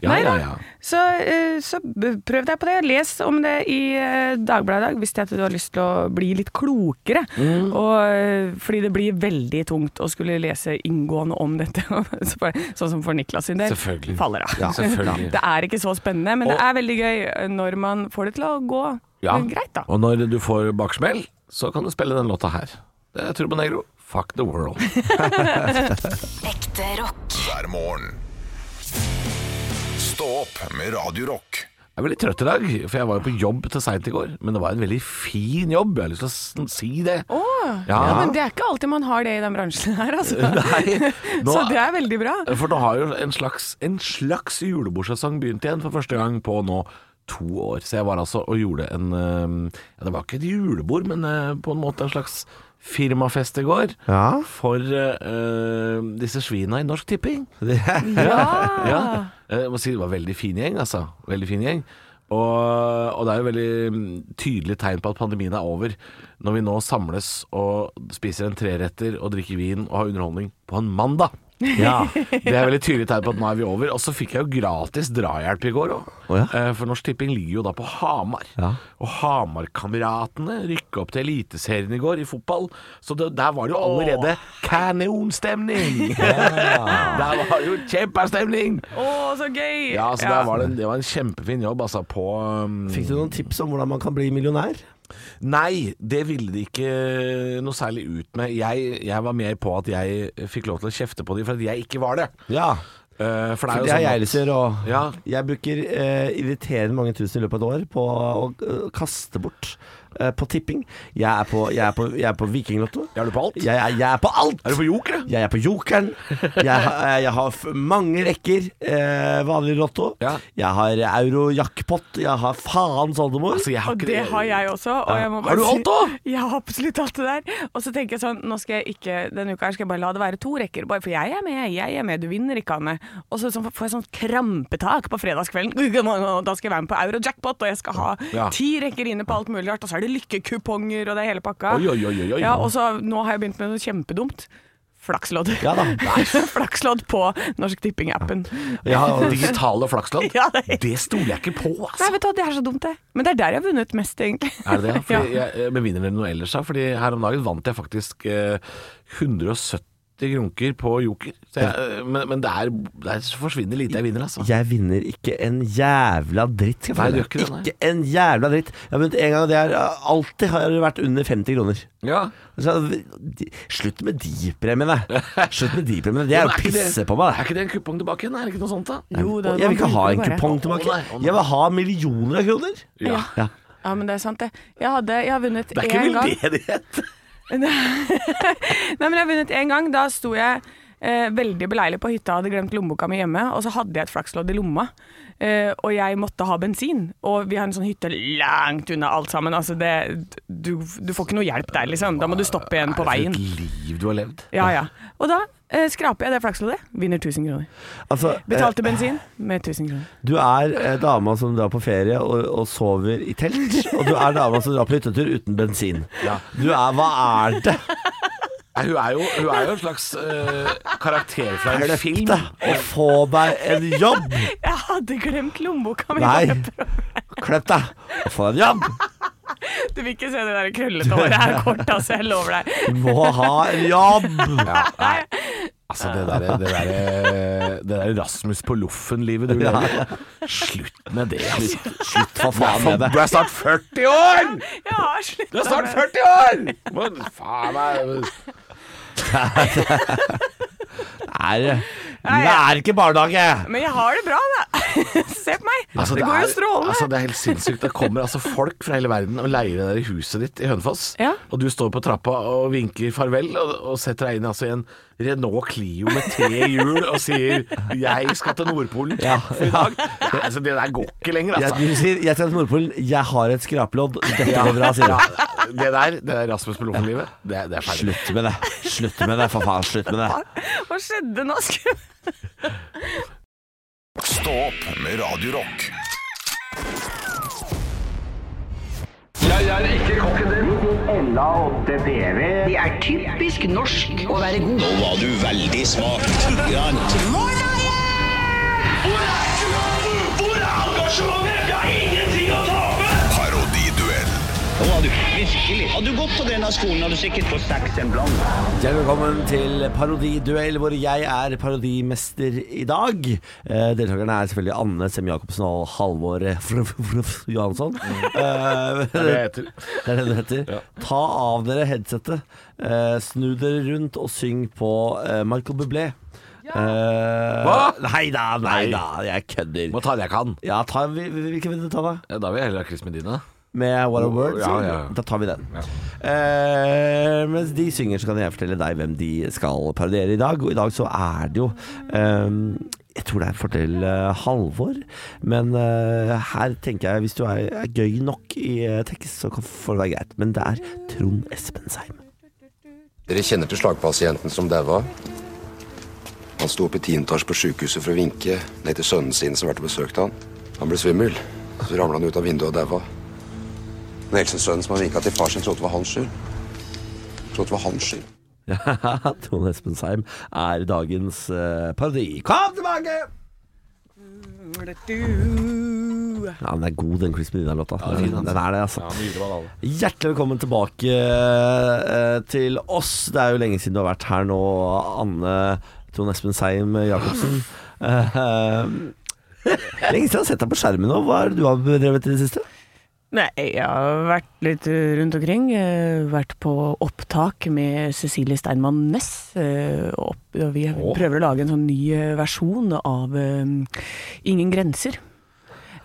Ja,
Nei
ja,
da.
ja.
Så, eh, så b- prøv deg på det. Les om det i eh, Dagbladet i dag hvis det er at du har lyst til å bli litt klokere.
Mm.
Og, eh, fordi det blir veldig tungt å skulle lese inngående om dette. [LAUGHS] Så for- sånn som for Niklas sin del.
Selvfølgelig.
Faller av.
Ja, selvfølgelig.
Det er ikke så spennende, men det
Og-
er veldig gøy eh, når man får det til å gå
Ja.
eh, greit, da.
Og når du får baksmell, så kan du spille den låta her. Det er Turbo Negro. Fuck the world.
Ekte rock.
hver morgen. Stå opp med Radio Rock.
Jeg er veldig trøtt i dag, for jeg var jo på jobb til seint i går. Men det var en veldig fin jobb, jeg har lyst til å s- si det. Ja.
Ja, men det er ikke alltid man har det i den bransjen her, altså.
[LAUGHS]
[LAUGHS]
Nei, nå,
Så det er veldig bra.
For nå har jo en slags, en slags julebordsesong begynt igjen for første gang på nå to år. Så jeg var altså og gjorde en eh, ja, Det var ikke et julebord, men eh, på en måte en slags firmafest i går.
Ja.
For eh, disse svina i Norsk Tipping.
Ja.
Ja. Eh, Jeg må si det var veldig fin gjeng, altså. Veldig fin gjeng. Og, og det er jo veldig mm, tydelig tegn på at pandemien er over, når vi nå samles og spiser en treretter og drikker vin og har underholdning på en mandag.
[LAUGHS] Ja.
[LAUGHS] Det er veldig tydelig tegn på at nå er vi over. Og så fikk jeg jo gratis drahjelp i går òg.
Å ja.
For Norsk Tipping ligger jo da på Hamar.
Ja.
Og Hamarkameratene rykka opp til Eliteserien i går i fotball. Så det, der var det jo allerede
[LAUGHS]
kanonstemning! [LAUGHS] Der var det jo kjempestemning!
Å, så gøy!
Ja, så der var det, en- det var en kjempefin jobb, altså, på um,
Fikk du noen tips om hvordan man kan bli millionær?
Nei, det ville de ikke noe særlig ut med. Jeg, jeg var mer på at jeg fikk lov til å kjefte på de for at jeg ikke var det.
Ja,
Eh, for det
for
er jo
det har
sånn
jeg
at-
lyst til å gjøre. og
Ja.
Jeg bruker eh, irriterende mange tusen i løpet av et år på å eh, kaste bort eh, på tipping. Jeg er på, jeg er på, jeg er på vikinglotto.
Er du på alt?
Jeg er, jeg er på alt!
Er du på joker? da?
Jeg er på jokeren. Jeg, har-
[LAUGHS]
jeg har f- mange rekker eh, vanlig lotto.
Ja.
Jeg har euro-jackpot. Jeg har faen oldemor.
Altså, jeg har
Og
ikke
det har jeg også. Og jeg må
Har du
bare si-
alt da?
[LAUGHS] Jeg har absolutt alt det der. Og så tenker jeg sånn, nå skal jeg ikke, denne uka her skal jeg bare la det være to rekker. Bare for jeg er med, jeg er med, du vinner ikke, Anne. Og så sånn, får jeg sånn krampetak på fredagskvelden. [LAUGHS] Og Da skal jeg være med på Eurojackpot, og jeg skal ha
Ja.
ti rekker inne på alt mulig rart. Og så er det lykkekuponger og det er hele pakka.
Oi, oi, oi, oi, oi.
Ja, og så nå har jeg begynt med noe kjempedumt. Flakslodd.
Ja da.
[LAUGHS] Flakslodd på Norsk Tipping-appen.
Jeg har,
Digitale flaksland?
[LAUGHS] Ja, det-
Det stoler jeg ikke på, altså.
Nei, vet du hva, det er så dumt, det. Men det er der jeg har vunnet mest, egentlig.
Er det
[LAUGHS]
det?
Ja.
Fordi jeg, eh, jeg bevinner dere noe ellers her, fordi her om dagen vant jeg faktisk eh, 170 grunker på joker. Så jeg, eh, men men det, er, det er forsvinner lite jeg vinner, altså.
jeg vinner ikke en jævla dritt. Skal jeg
Nei,
fortelle
du gjør
deg.
ikke det, nei.
ikke en jævla dritt. Jeg har vunnet en gang, og det er eh, alltid har det vært under 50 kroner.
Ja.
Så, de, slutt med de premiene. Slutt med de premiene. Det er
Men
å
er ikke det-
pisse på meg.
Er ikke det en kupong tilbake igjen? Er det ikke noe sånt, da?
Jo,
Det.
det-
Jeg vil ikke ha
man
en
bruker det bare.
kupong
Å
tilbake.
nei, å nei.
Jeg vil ha millioner av kroner.
Ja.
Ja.
Ja, men det er sant det. Jeg, hadde, jeg har vunnet
Det er ikke
én gang.
veldedighet.
Nei, men jeg har vunnet én gang. Da sto jeg eh, veldig beleilig på hytta, hadde glemt lommeboka mi hjemme, og så hadde jeg et flakslodd i lomma. Eh, og jeg måtte ha bensin. Og vi har en sånn hytte langt unna alt sammen. Altså det, du, du får ikke noe hjelp der, liksom. Da må du stoppe igjen på
Er
veien.
det for et liv du har levd?
Ja, ja. Og da eh, skraper jeg det flaksloddet. Vinner 1000 kroner.
Altså, eh,
Betalte bensin med 1000 kroner.
Du er eh, dama som drar på ferie og, og sover i telt, og du er dama som drar på hyttetur uten bensin.
Ja.
Du er Hva er det?
Nei, hun, er jo, hun er jo en slags eh, karakter fra
Er
en
det
film.
Å få deg en jobb!
Jeg hadde glemt lommeboka mi.
Nei, kløpp deg! Å få deg en jobb!
Du vil ikke se det der krøllete håret
[LAUGHS]
her kort, altså. Jeg lover deg.
Du må ha en jobb!
Ja, [LAUGHS] nei. Altså, det derre det der, det der Rasmus på loffen-livet du lever. Slutt med det. altså. Slutt, slutt for faen med det. Du er snart 40 år!
Jeg har slutta
Du er snart
med-
40 år! Men faen meg
Nei, det er ikke barnehage!
Men jeg har det bra, da. [LAUGHS] Se på meg.
Altså,
det, går jo
er-
strålende.
Altså, det er helt sinnssykt. Det kommer altså folk fra hele verden og leier det der huset ditt i Hønefoss.
Ja.
Og du står på trappa og vinker farvel, og, og setter deg inn altså, i en Renault Clio med tre hjul og sier 'jeg skal til Nordpolen
Ja.
for i dag'. Nei, altså, det der går ikke lenger,
Jeg,
altså.
du sier 'jeg skal til Nordpolen, jeg har et skrapelodd'. Dette går bra, sier du.
Det der, det der Rasmus på loffen-livet, det, det er ferdig.
Slutt med det. Slutt med det, for faen. Slutt med det.
Hva skjedde nå? Skulle-
Stå opp med Radio Rock.
Ella 8 PV. Det er typisk norsk å være god.
Nå var du veldig smak. Grann.
Hvor er engasjementet? Vi har ingenting å tape!
Parodiduell.
Nå var du virkelig. Hadde du gått på denne skolen, hadde du sikkert fått seks en blant.
Hjertelig velkommen til Parodiduell, hvor jeg er parodimester i dag. Eh, deltakerne er selvfølgelig Anne Sem Jacobsen og Halvor eh, Fruff, Fruff Johansson. Eh, [LAUGHS]
Det er det jeg heter.
det er det det heter. Ta av dere headsetet, eh, snu dere rundt og syng på eh, Michael Bublé. Eh,
Hva?
Nei da, nei da, jeg kødder.
Må ta det jeg kan.
Ja, ta, hvil- hvilken vil du ta, da?
Ja, Da vil jeg heller ha Chris Medina.
Med What a Word?
Oh, Ja,
så-
ja, ja.
Da tar vi den. Eh, mens de synger, så kan jeg fortelle deg hvem de skal parodiere i dag. Og i dag så er det jo eh, Jeg tror det er fordel eh, Halvor, men eh, her tenker jeg hvis du er, er gøy nok i eh, tekst, så kan- får det være greit. Men det er Trond Espensheim. [LAUGHS]
Dere kjenner til slagpasienten som daua? Han sto oppe i tiendetasj på sykehuset for å vinke ned til sønnen sin som vært og besøkte han. Han ble svimmel. Så ramla han ut av vinduet og daua. Den eldste sønnen som hadde vinka til far sin, trodde det var hans skyld. Trodde det var hans skyld.
Ja, Trond Espensheim er dagens eh, parodi. Kom tilbake! Ja, den er god, den Chris Medina-låta. den, den er det, altså. Hjertelig velkommen tilbake eh, til oss. Det er jo lenge siden du har vært her nå, Anne Trond Espensheim Jacobsen. Eh, [LAUGHS] eh, lenge siden jeg har sett deg på skjermen nå. Hva er det du har bedrevet i det siste? [LAUGHS]
Nei, jeg har vært litt rundt omkring. eh, Vært på opptak med Cecilie Steinmann Næss. eh, og opp- og Vi prøver å lage en sånn ny eh, versjon av eh, Ingen grenser.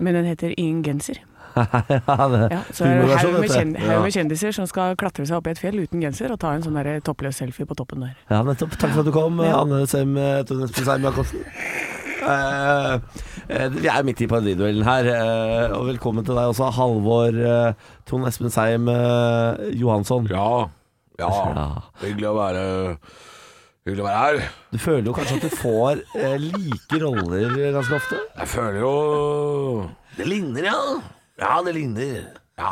Men den heter Ingen genser. Ja, så er det
Humorversjon,
haug med,
sånn, dette.
kjen- haug med
Ja.
kjendiser som skal klatre seg opp i et fjell uten genser og ta en sånn der toppløs selfie på toppen der.
Ja, nettopp. Takk for at du kom,
Ja.
Anne Sem eh, Tone Espen Seim Jacobsen. Eh, eh, vi er midt i parodiduellen her, eh, og velkommen til deg også, Halvor eh, Trond Espen Seim eh, Johansson.
Ja. Ja.
Ja.
Hyggelig å være Hyggelig å være her.
Du føler jo kanskje at du får eh, like roller ganske ofte?
Jeg føler jo Det ligner, ja. Ja, det ligner. Ja.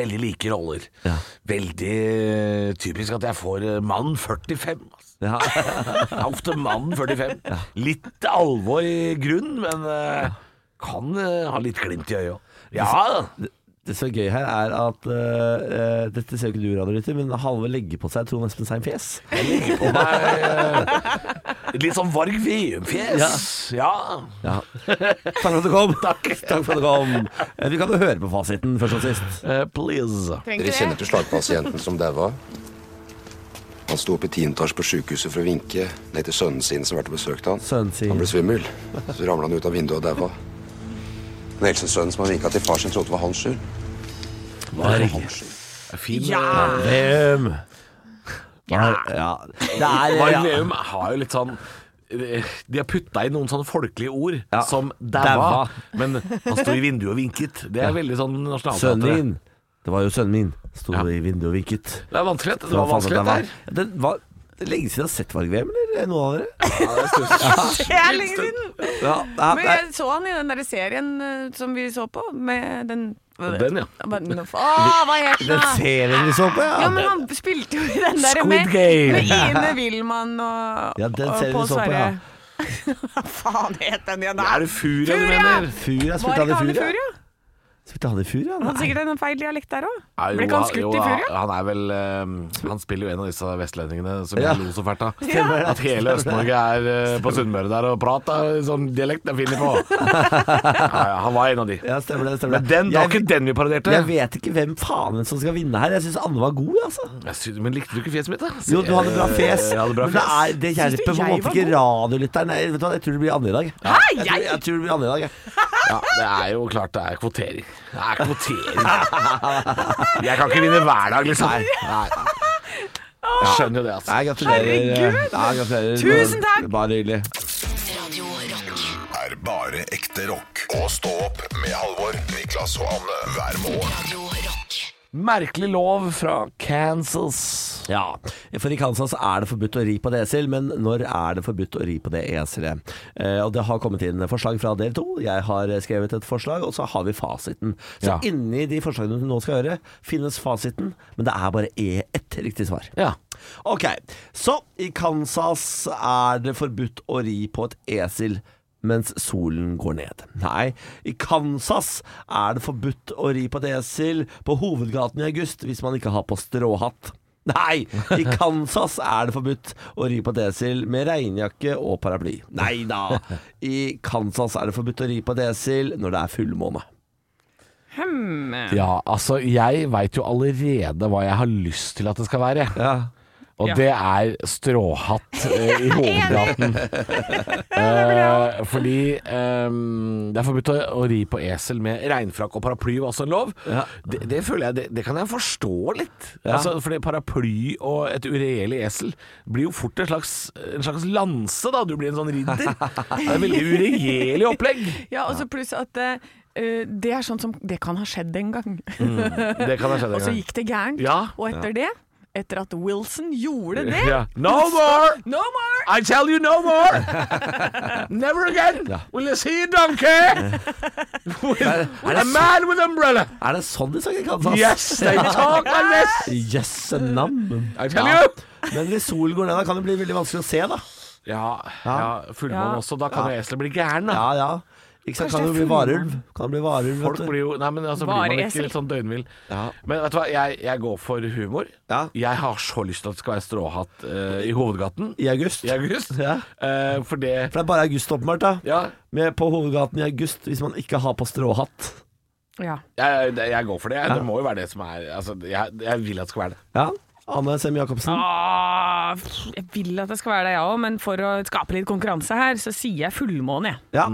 Veldig like roller.
Ja.
Veldig typisk at jeg får eh, mann 45. Altså.
Ja.
Jeg er ofte mann 45. Litt alvor i grunn, men eh, kan eh, ha litt glimt i øyet òg. Ja,
Det som er gøy her, er at eh, eh, Dette ser jo ikke du, radiolytter, men Halvor legger på seg Trond Espen Seim fjes.
jeg legger på meg eh, litt sånn Varg Veum-fjes. Ja.
Ja. [LAUGHS] Takk for at du kom. Takk. for at du kom. Eh, Vi kan jo høre på fasiten først og sist.
Eh, please.
Dere kjenner til slagpasienten som daua? Han sto oppe i tiendetasj på sykehuset for å vinke ned til sønnen sin som vært og besøkte han.
Sønnen sin.
Han ble svimmel. Så ramla han ut av vinduet og daua. Den eldste sønnen som han vinka til far sin, trodde det var hans skyld.
Fin
Ja.
Veum. Ja. Det er
Varg
ja.
Veum har jo litt sånn eh, de har putta inn noen sånne folkelige ord,
Ja.
som
Daua.
daua. Men han sto i vinduet og vinket. Det er veldig sånn
Sønnen
nasjonalteater.
min. Det var jo sønnen min. Sto
Ja.
i vinduet og vinket.
Det er vanskelig. Det var vanskelig,
det
dette her.
var. Den var det er lenge siden jeg har sett Varg-VM, eller noen av dere?
Det er lenge siden!
Ja, ja,
Men
nei.
jeg så han i den der serien eh, som vi så på, med den
Den, ja.
Å, hva het den?
Den
da?
serien vi så på,
Ja,
ja.
men han spilte jo i den der
Squid
med,
Game.
med Ine Wilman og,
Ja, den
og
serien vi
Pål
så på, ja.
Sverre. [LAUGHS] Hva faen het den igjen? da?
Er det Furia du
Furia!
mener?
Fur, jeg
Var
spilte
ikke
han
han
i
i
Fur, ja.
Furia?
Spilte han i Fur, ja?
Hadde
Nei.
sikkert en feil dialekt der òg.
Ja, jo,
Ble ikke han skutt
jo,
i Furia?
Han er vel eh, Han spiller jo en av disse vestlendingene som
Ja.
jeg lo så fælt
[LAUGHS]
av.
Stemmer det.
At hele Øst-Norge er eh, på Sunnmøre der og prater sånn dialekt jeg finner på.
[LAUGHS]
Ja, ja, han var en av de.
Ja, stemmer det. stemmer
Men den, det var
Jeg-
ikke den vi parodierte.
Jeg vet ikke hvem faen som skal vinne her. Jeg syns Anne var god, altså.
Jeg sy- men likte du ikke fjeset mitt, da?
Jo, du hadde bra fjes.
Jeg hadde bra
men det,
fjes.
er, det
Syns du
hjelper på en
jeg
måte
var
ikke
god?
radiolytteren. Jeg, vet du hva, jeg tror det blir Anne i dag.
Hæ,
Jeg tror,
jeg?
jeg tror det blir Anne i dag, jeg.
Ja, det er jo klart det er kvotering. Det er kvotering. Jeg kan ikke vinne hver dag, liksom. Nei. Jeg skjønner jo det, altså.
Nei, gratulerer.
Herregud.
Nei, gratulerer.
Tusen takk.
Bare hyggelig.
Radio Rock.
er bare ekte rock. Og stå opp med Halvor, Niklas og Anne hver morgen.
Radio Rock.
Merkelig lov fra Kansas.
Ja, for i Kansas er det forbudt å ri på esel, men når er det forbudt å ri på det eselet? Eh, og det har kommet inn forslag fra del to. Jeg har skrevet et forslag, og så har vi fasiten. Så
Ja.
inni de forslagene du nå skal høre, finnes fasiten, men det er bare e- ett riktig svar.
Ja.
Ok, så i Kansas er det forbudt å ri på et esel mens solen går ned. Nei, i Kansas er det forbudt å ri på et esel på hovedgaten i august hvis man ikke har på stråhatt. Nei, i Kansas er det forbudt å ri på et esel med regnjakke og paraply. Nei da, i Kansas er det forbudt å ri på et esel når det er fullmåne.
Hm.
ja, altså, jeg veit jo allerede hva jeg har lyst til at det skal være.
Ja.
Og
Ja.
det er stråhatt
[LAUGHS]
eh, i hovedgaten. Eh, fordi ehm, det er forbudt å, å ri på esel med regnfrakk og paraply var også en lov. Det, det føler jeg, det, det kan jeg forstå litt. Altså, fordi paraply og et uregjerlig esel blir jo fort en slags, en slags lanse, da. Du blir en sånn ridder. Det er et veldig uregjerlig opplegg.
Ja, og så pluss at eh, eh, det er sånn som Det kan ha skjedd en gang.
Det kan ha skjedd
[LAUGHS] og
en
så
gang.
gikk det gærent.
Ja.
Og etter det, etter at Wilson
[LAUGHS]
gjorde det
Ja. No more!
No more!
I tell you no [LAUGHS] more! Never again will you see a [LAUGHS] donkey with, with a man with umbrella.
Er det sånn de snakker i Kansas?
Yes, [LAUGHS] they talk like this.
Jøsse namn.
I tell
Ja.
you.
Men hvis solen går ned, da kan det bli veldig vanskelig å se, da.
Ja, ja fullmåne
Ja.
også. Da kan jo eselet bli gæren, da.
Ja, ja. [LAUGHS] Ikke sant,
Kanskje
kan
det er
det bli
full-
varulv? Kan det bli varulv,
Folk
vet du?
blir jo Nei, men altså blir
Bare
man ikke
esel.
litt sånn døgnvill.
Ja.
Men vet du hva, jeg, jeg går for humor.
Ja.
Jeg har så lyst til at det skal være stråhatt eh, i hovedgaten
I august?
i august.
Ja.
Eh, for det
For det er bare august, åpenbart, da.
Ja,
Med på hovedgaten i august, hvis man ikke har på stråhatt.
Ja.
jeg, jeg går for det. Det må jo være det som er Altså, jeg, jeg vil at det skal være det.
Ja. Anne Sem Jacobsen.
Ah, pff, jeg
Mm.
vil at det skal være det, jeg òg, men for å skape litt konkurranse her, så sier jeg fullmåne, jeg.
Ja.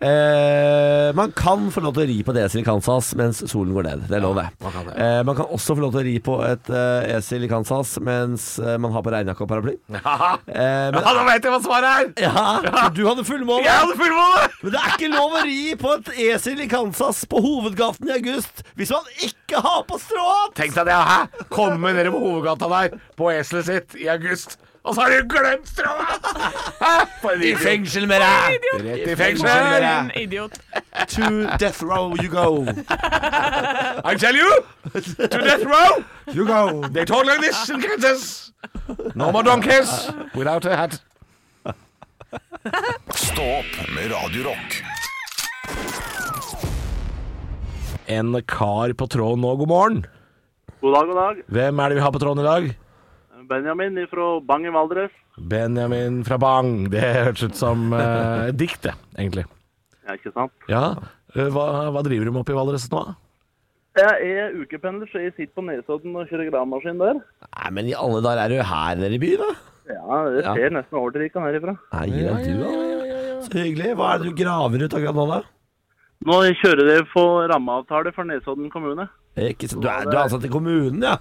Eh, man kan få lov til å ri på et esel i Kansas mens solen går ned. Det er lov, det.
man kan det.
Eh, man kan også få lov til å ri på et eh, esel i Kansas mens eh, man har på regnjakke og
[LAUGHS]
paraply. Eh, men,
da veit jeg hva svaret er!
ja, for du hadde fullmåne!
hadde fullmåne!
Men det er ikke lov å ri på et esel i Kansas på hovedgaten i august hvis man ikke har på stråhatt!
Tenk deg det, hæ? Komme nede på hovedgata der på eselet sitt i august, og så har de glemt strømmen! Hæ? For en idiot.
fengsel med deg!
Rett i
For
fengsel!
en idiot.
To death row you go.
I tell you, to death row,
You go.
they talk like this in Kansas. No more donkeys without a hat.
Stå opp med Radio Rock.
En kar på tråden nå, god morgen.
God dag, god dag.
Hvem er det vi har på tråden i dag?
Benjamin fra Bang i Valdres.
Benjamin fra Bang. Det hørtes ut som eh, et dikt, det, egentlig.
Ja, ikke sant?
Ja, eh, hva, hva driver du med oppe i Valdres nå?
Jeg er ukependler, så jeg sitter på Nesodden og kjører gravemaskin der.
Nei, men i alle dager er du her nede i byen, da?
Ja, det skjer nesten over til Rika herifra.
Nei, ja, du, da. Så hyggelig. Hva er det du graver ut akkurat nå, da?
Nå kjører jeg på rammeavtale for Nesodden kommune.
Ikke, sant. du, er, du er ansatt i kommunen, ja?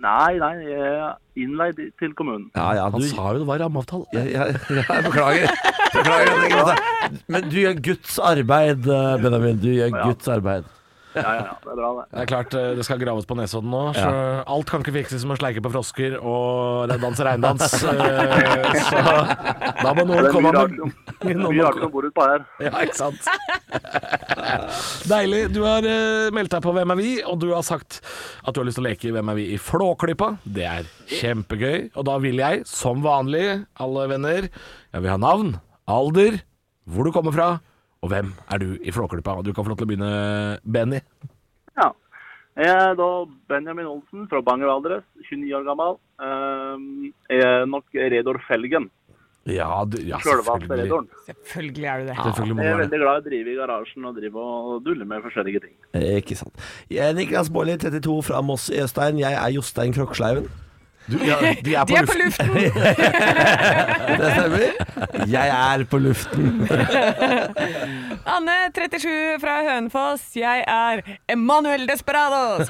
Nei, nei, jeg er innleid til kommunen.
Ja, ja, du
Han sa jo det var rammeavtale.
jeg, jeg, jeg beklager. beklager at jeg ikke sa- Men du gjør Guds arbeid, eh, Benjamin. Du gjør Guds arbeid.
Ja, ja, ja, det er bra det.
Det er klart eh, det skal graves på Nesodden nå, så alt kan ikke fikses med å sleike på frosker og danse regndans. eh, så da må
Det
noen
er
komme
mye rart
med
som,
[LAUGHS] noen
mye
må-
rart som bor utpå her.
Ja, ikke sant? [LAUGHS] Deilig. Du har eh, meldt deg på Hvem er vi?, og du har sagt at du har lyst til å leke i Hvem er vi i Flåklypa. Det er kjempegøy. Og da vil jeg, som vanlig, alle venner, jeg vil ha navn, alder, hvor du kommer fra, og hvem er du i Flåklypa. Og du kan få lov til å begynne, Benny.
Ja. Jeg er da Benjamin Olsen fra Bang i Valdres, 29 år gammel. Ehm, Jeg er nok Redor Felgen,
Ja, du, ja
sjølvaste
selvfølgelig.
Redoren.
Selvfølgelig er du det.
Selvfølgelig må
Jeg
du være
er
det.
veldig glad i å drive i garasjen og drive og dulle med forskjellige ting.
Eh, Ikke sant. Jeg er Niklas Baarli, 32, fra Moss i Østein. Jeg er Jostein Krokslaugen.
Du, ja, de er
De
på
er på
luften.
luften!
Det stemmer. Jeg er på luften.
Anne, 37, fra Hønefoss. Jeg er Emanuel Desperados.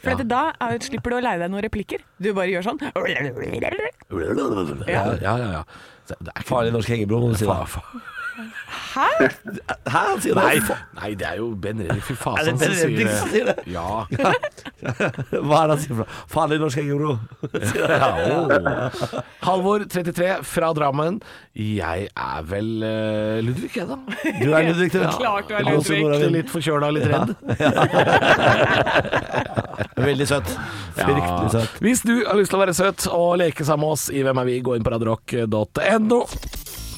For at da er, slipper du å leie deg noen replikker. Du bare gjør sånn.
Ja, ja, ja. ja. Så Det er ikke
Farlig norsk hengebro, må du si. da.
Fa- fa-
Hæ?
Hæ, han sier
Nei,
det.
nei, det er jo Ben Reddik. Fy faen,
Er det
han
Ben
som sier
Reddik som
det.
sier det?
Ja.
[LAUGHS] Hva er det han sier for noe? Farlig norsk hengebro.
Ja, oh. Halvor, 33, fra Drammen. Jeg er vel eh, Ludvig, jeg,
[LAUGHS]
da.
Du er Ludvig, du.
[LAUGHS] Klart du er
Ja, også
Ludvig.
Nora Vind.
Litt forkjøla, litt redd.
Veldig søtt. Fryktelig søtt.
Hvis du har lyst til å være søt og leke sammen med oss i Hvem er vi, gå inn på radiorock.no.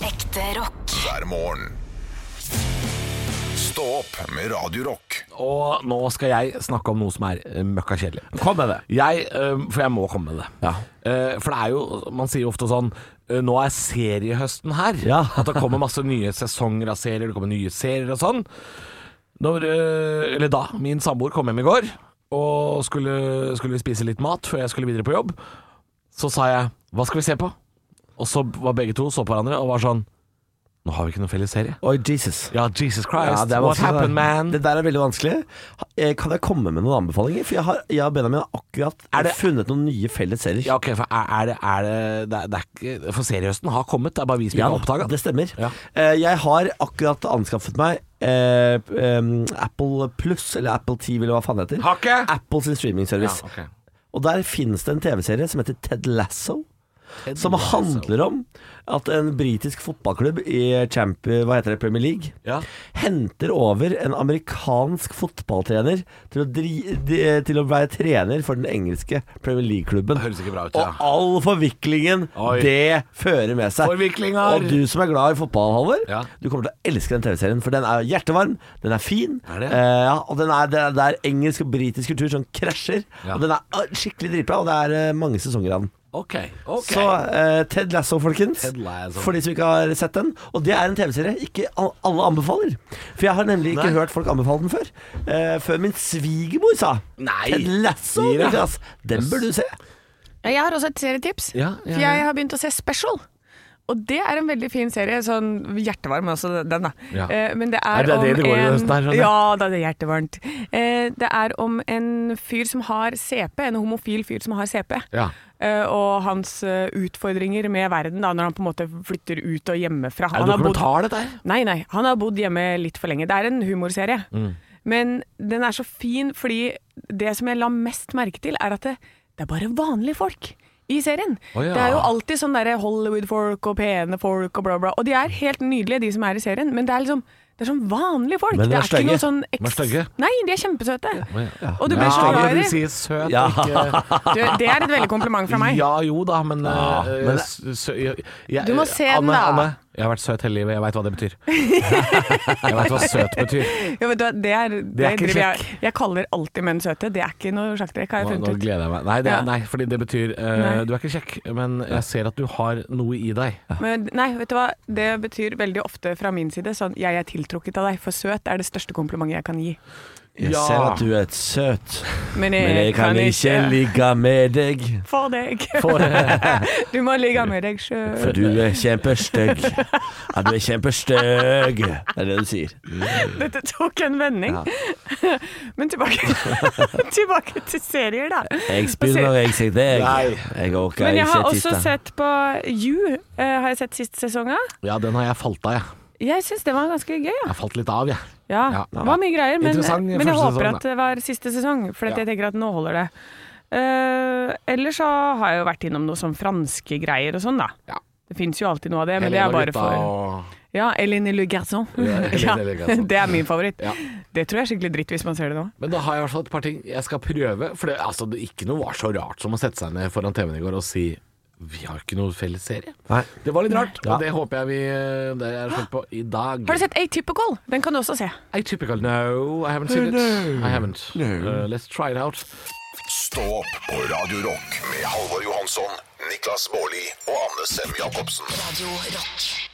Ekte rock.
hver morgen. Stå opp med Radio Rock.
Og nå skal jeg snakke om noe som er eh, møkka kjedelig.
Kom med det.
Jeg, eh, for jeg må komme med det.
Ja.
Eh, For det er jo, man sier jo ofte sånn eh, Nå er seriehøsten her.
Ja.
[LAUGHS] At det kommer masse nye sesonger av serier, det kommer nye serier og sånn. Når, eh, eller da min samboer kom hjem i går, og skulle, skulle vi spise litt mat før jeg skulle videre på jobb, så sa jeg 'hva skal vi se på'? Og så var begge to så på hverandre og var sånn 'nå har vi ikke noen felles serie'.
Oi, Jesus.
Ja, Jesus Christ,
Ja, det er
what
vanskelig, det.
happened, man?
Det der er veldig vanskelig. Eh, Kan jeg komme med noen anbefalinger? For jeg, har, jeg og Benjamin har akkurat
Er det-
funnet noen nye felles serier.
Ja, ok, for er, er det, er det, det, er, det er ikke For seriehøsten har kommet, det er bare vi som ikke har oppdaga
det stemmer.
Ja.
Eh, Jeg har akkurat anskaffet meg eh, em, Apple Pluss, eller Apple TV, eller hva faen det heter.
Hakket!
Apple sin streamingservice. Og der finnes det en TV-serie som heter Ted Lasso. Som handler om at en britisk fotballklubb i champ, hva heter det, Premier League
Ja.
henter over en amerikansk fotballtrener til å, dri, de, til å være trener for den engelske Premier League-klubben.
Det høres ikke bra ut, ja.
Og all forviklingen
Oi.
det fører med seg.
Forviklinger!
Og du som er glad i fotball, Halvor,
Ja.
du kommer til å elske den TV-serien. For den er hjertevarm, den er fin,
Er det?
eh, ja, og den er, det, er, det er engelsk og britisk kultur som krasjer.
Ja.
Og den er ah, skikkelig dritbra, og det er eh, mange sesonger av den.
Ok, ok
Så eh, Ted Lasso, folkens.
Ted Lasso.
For de som ikke har sett den. Og det er en TV-serie ikke al- alle anbefaler. For jeg har nemlig ikke
Nei.
hørt folk anbefale den før. Eh, før min svigermor sa
Nei,
Ted Lasso,
sier jeg.
Niklas. Den bør du se.
Jeg har også et serietips.
Ja, ja,
For jeg har begynt å se Special. Og det er en veldig fin serie. Sånn hjertevarm er også, den, da.
Ja.
Eh, Men det
Nei,
er,
det er det det
om
går i
en
høsten her, skjønner jeg.
Ja, da, det er hjertevarmt. Eh, Det er om en fyr som har CP, en homofil fyr som har CP.
Ja.
Eh, Og hans eh, utfordringer med verden da, når han på en måte flytter ut og hjemmefra.
Er
Han
det
har bodd-
dokumentar, dette her?
Nei, nei. Han har bodd hjemme litt for lenge. Det er en humorserie.
Mm.
Men den er så fin fordi det som jeg la mest merke til, er at det, det er bare vanlige folk i serien.
Å ja.
Det er jo alltid sånn derre Hollywood-folk og pene folk og bla, bla. Og de er helt nydelige, de som er i serien, men det er liksom det er sånn vanlige folk.
Men de
det
er
er ikke
stygge.
noe sånn
De er stygge.
Nei, de er kjempesøte.
Ja.
Og du blir så glad i
de
dem.
sier søt,
Ja.
ikke
[LAUGHS]
Du, Det er et veldig kompliment fra meg.
Ja jo da, men,
Ja,
eh,
men-
s- sø- jeg, jeg,
Du må se den,
Anne,
da.
Anne, jeg har vært søt hele livet, jeg veit hva det
[LAUGHS]
betyr. jeg veit hva søt betyr.
Ja, vet du, hva, det er, det
ikke
driver jeg, jeg kaller alltid menn søte. Det er ikke noe sjakktrekk, har
Nå,
jeg
nå
funnet ut.
gleder jeg meg. Nei, det,
Ja.
nei fordi det betyr eh,
Nei.
Du er ikke kjekk, men jeg ser at du har noe i deg.
Men, nei, vet du hva? Det betyr veldig ofte fra min side sånn jeg er tiltrukket av deg, for søt er det største komplimentet jeg kan gi.
Jeg
Ja.
ser at du er et søt,
Men jeg,
men jeg kan ikke ligge med deg,
for deg. [LAUGHS]
For,
Du må ligge med deg sjøl.
[LAUGHS] for du er kjempestygg. Ja, du er kjempestygg. Det er det du sier.
Dette tok en vending. [LAUGHS] Men tilbake, tilbake til serier, da.
Jeg spiller, jeg ser deg.
Nei.
Jeg orker
Men jeg har
ikke
også
titte.
sett på You, eh, har jeg sett siste sesong av.
ja, den har jeg falt av, jeg.
Jeg syns det var ganske gøy. Ja.
Jeg har falt litt av, jeg.
Ja,
Ja.
det var mye greier, men,
Interessant
men jeg
første
håper
sesong,
at det var siste sesong, for at
Ja.
jeg tenker at nå holder det. Eh, ellers så har jeg jo vært innom noe sånn franske greier og sånn, da.
Ja.
Det fins jo alltid noe av det, men det er
Helene og
bare
gutta
for
og-
Ja, Eline Le Garçon. [LAUGHS]
Ja,
Ja,
Helene Le Garçon.
det er min favoritt.
Ja.
Det tror jeg er skikkelig dritt hvis man ser det nå.
Men da har jeg i hvert fall et par ting jeg skal prøve. For det, altså, det ikke noe var så rart som å sette seg ned foran TV-en i går og si vi har ikke noe felles serie.
Nei.
Det var litt rart,
Ja.
og det håper jeg vi eh, det er slutt på i dag.
Har du sett Atypical? Den kan du også se.
Atypical? No, I haven't seen it. I haven't. Uh, let's try it out.
Stå opp på Radio Rock med Halvor Johansson, Niklas Baarli og Anne Sem Jacobsen.
Radio Rock.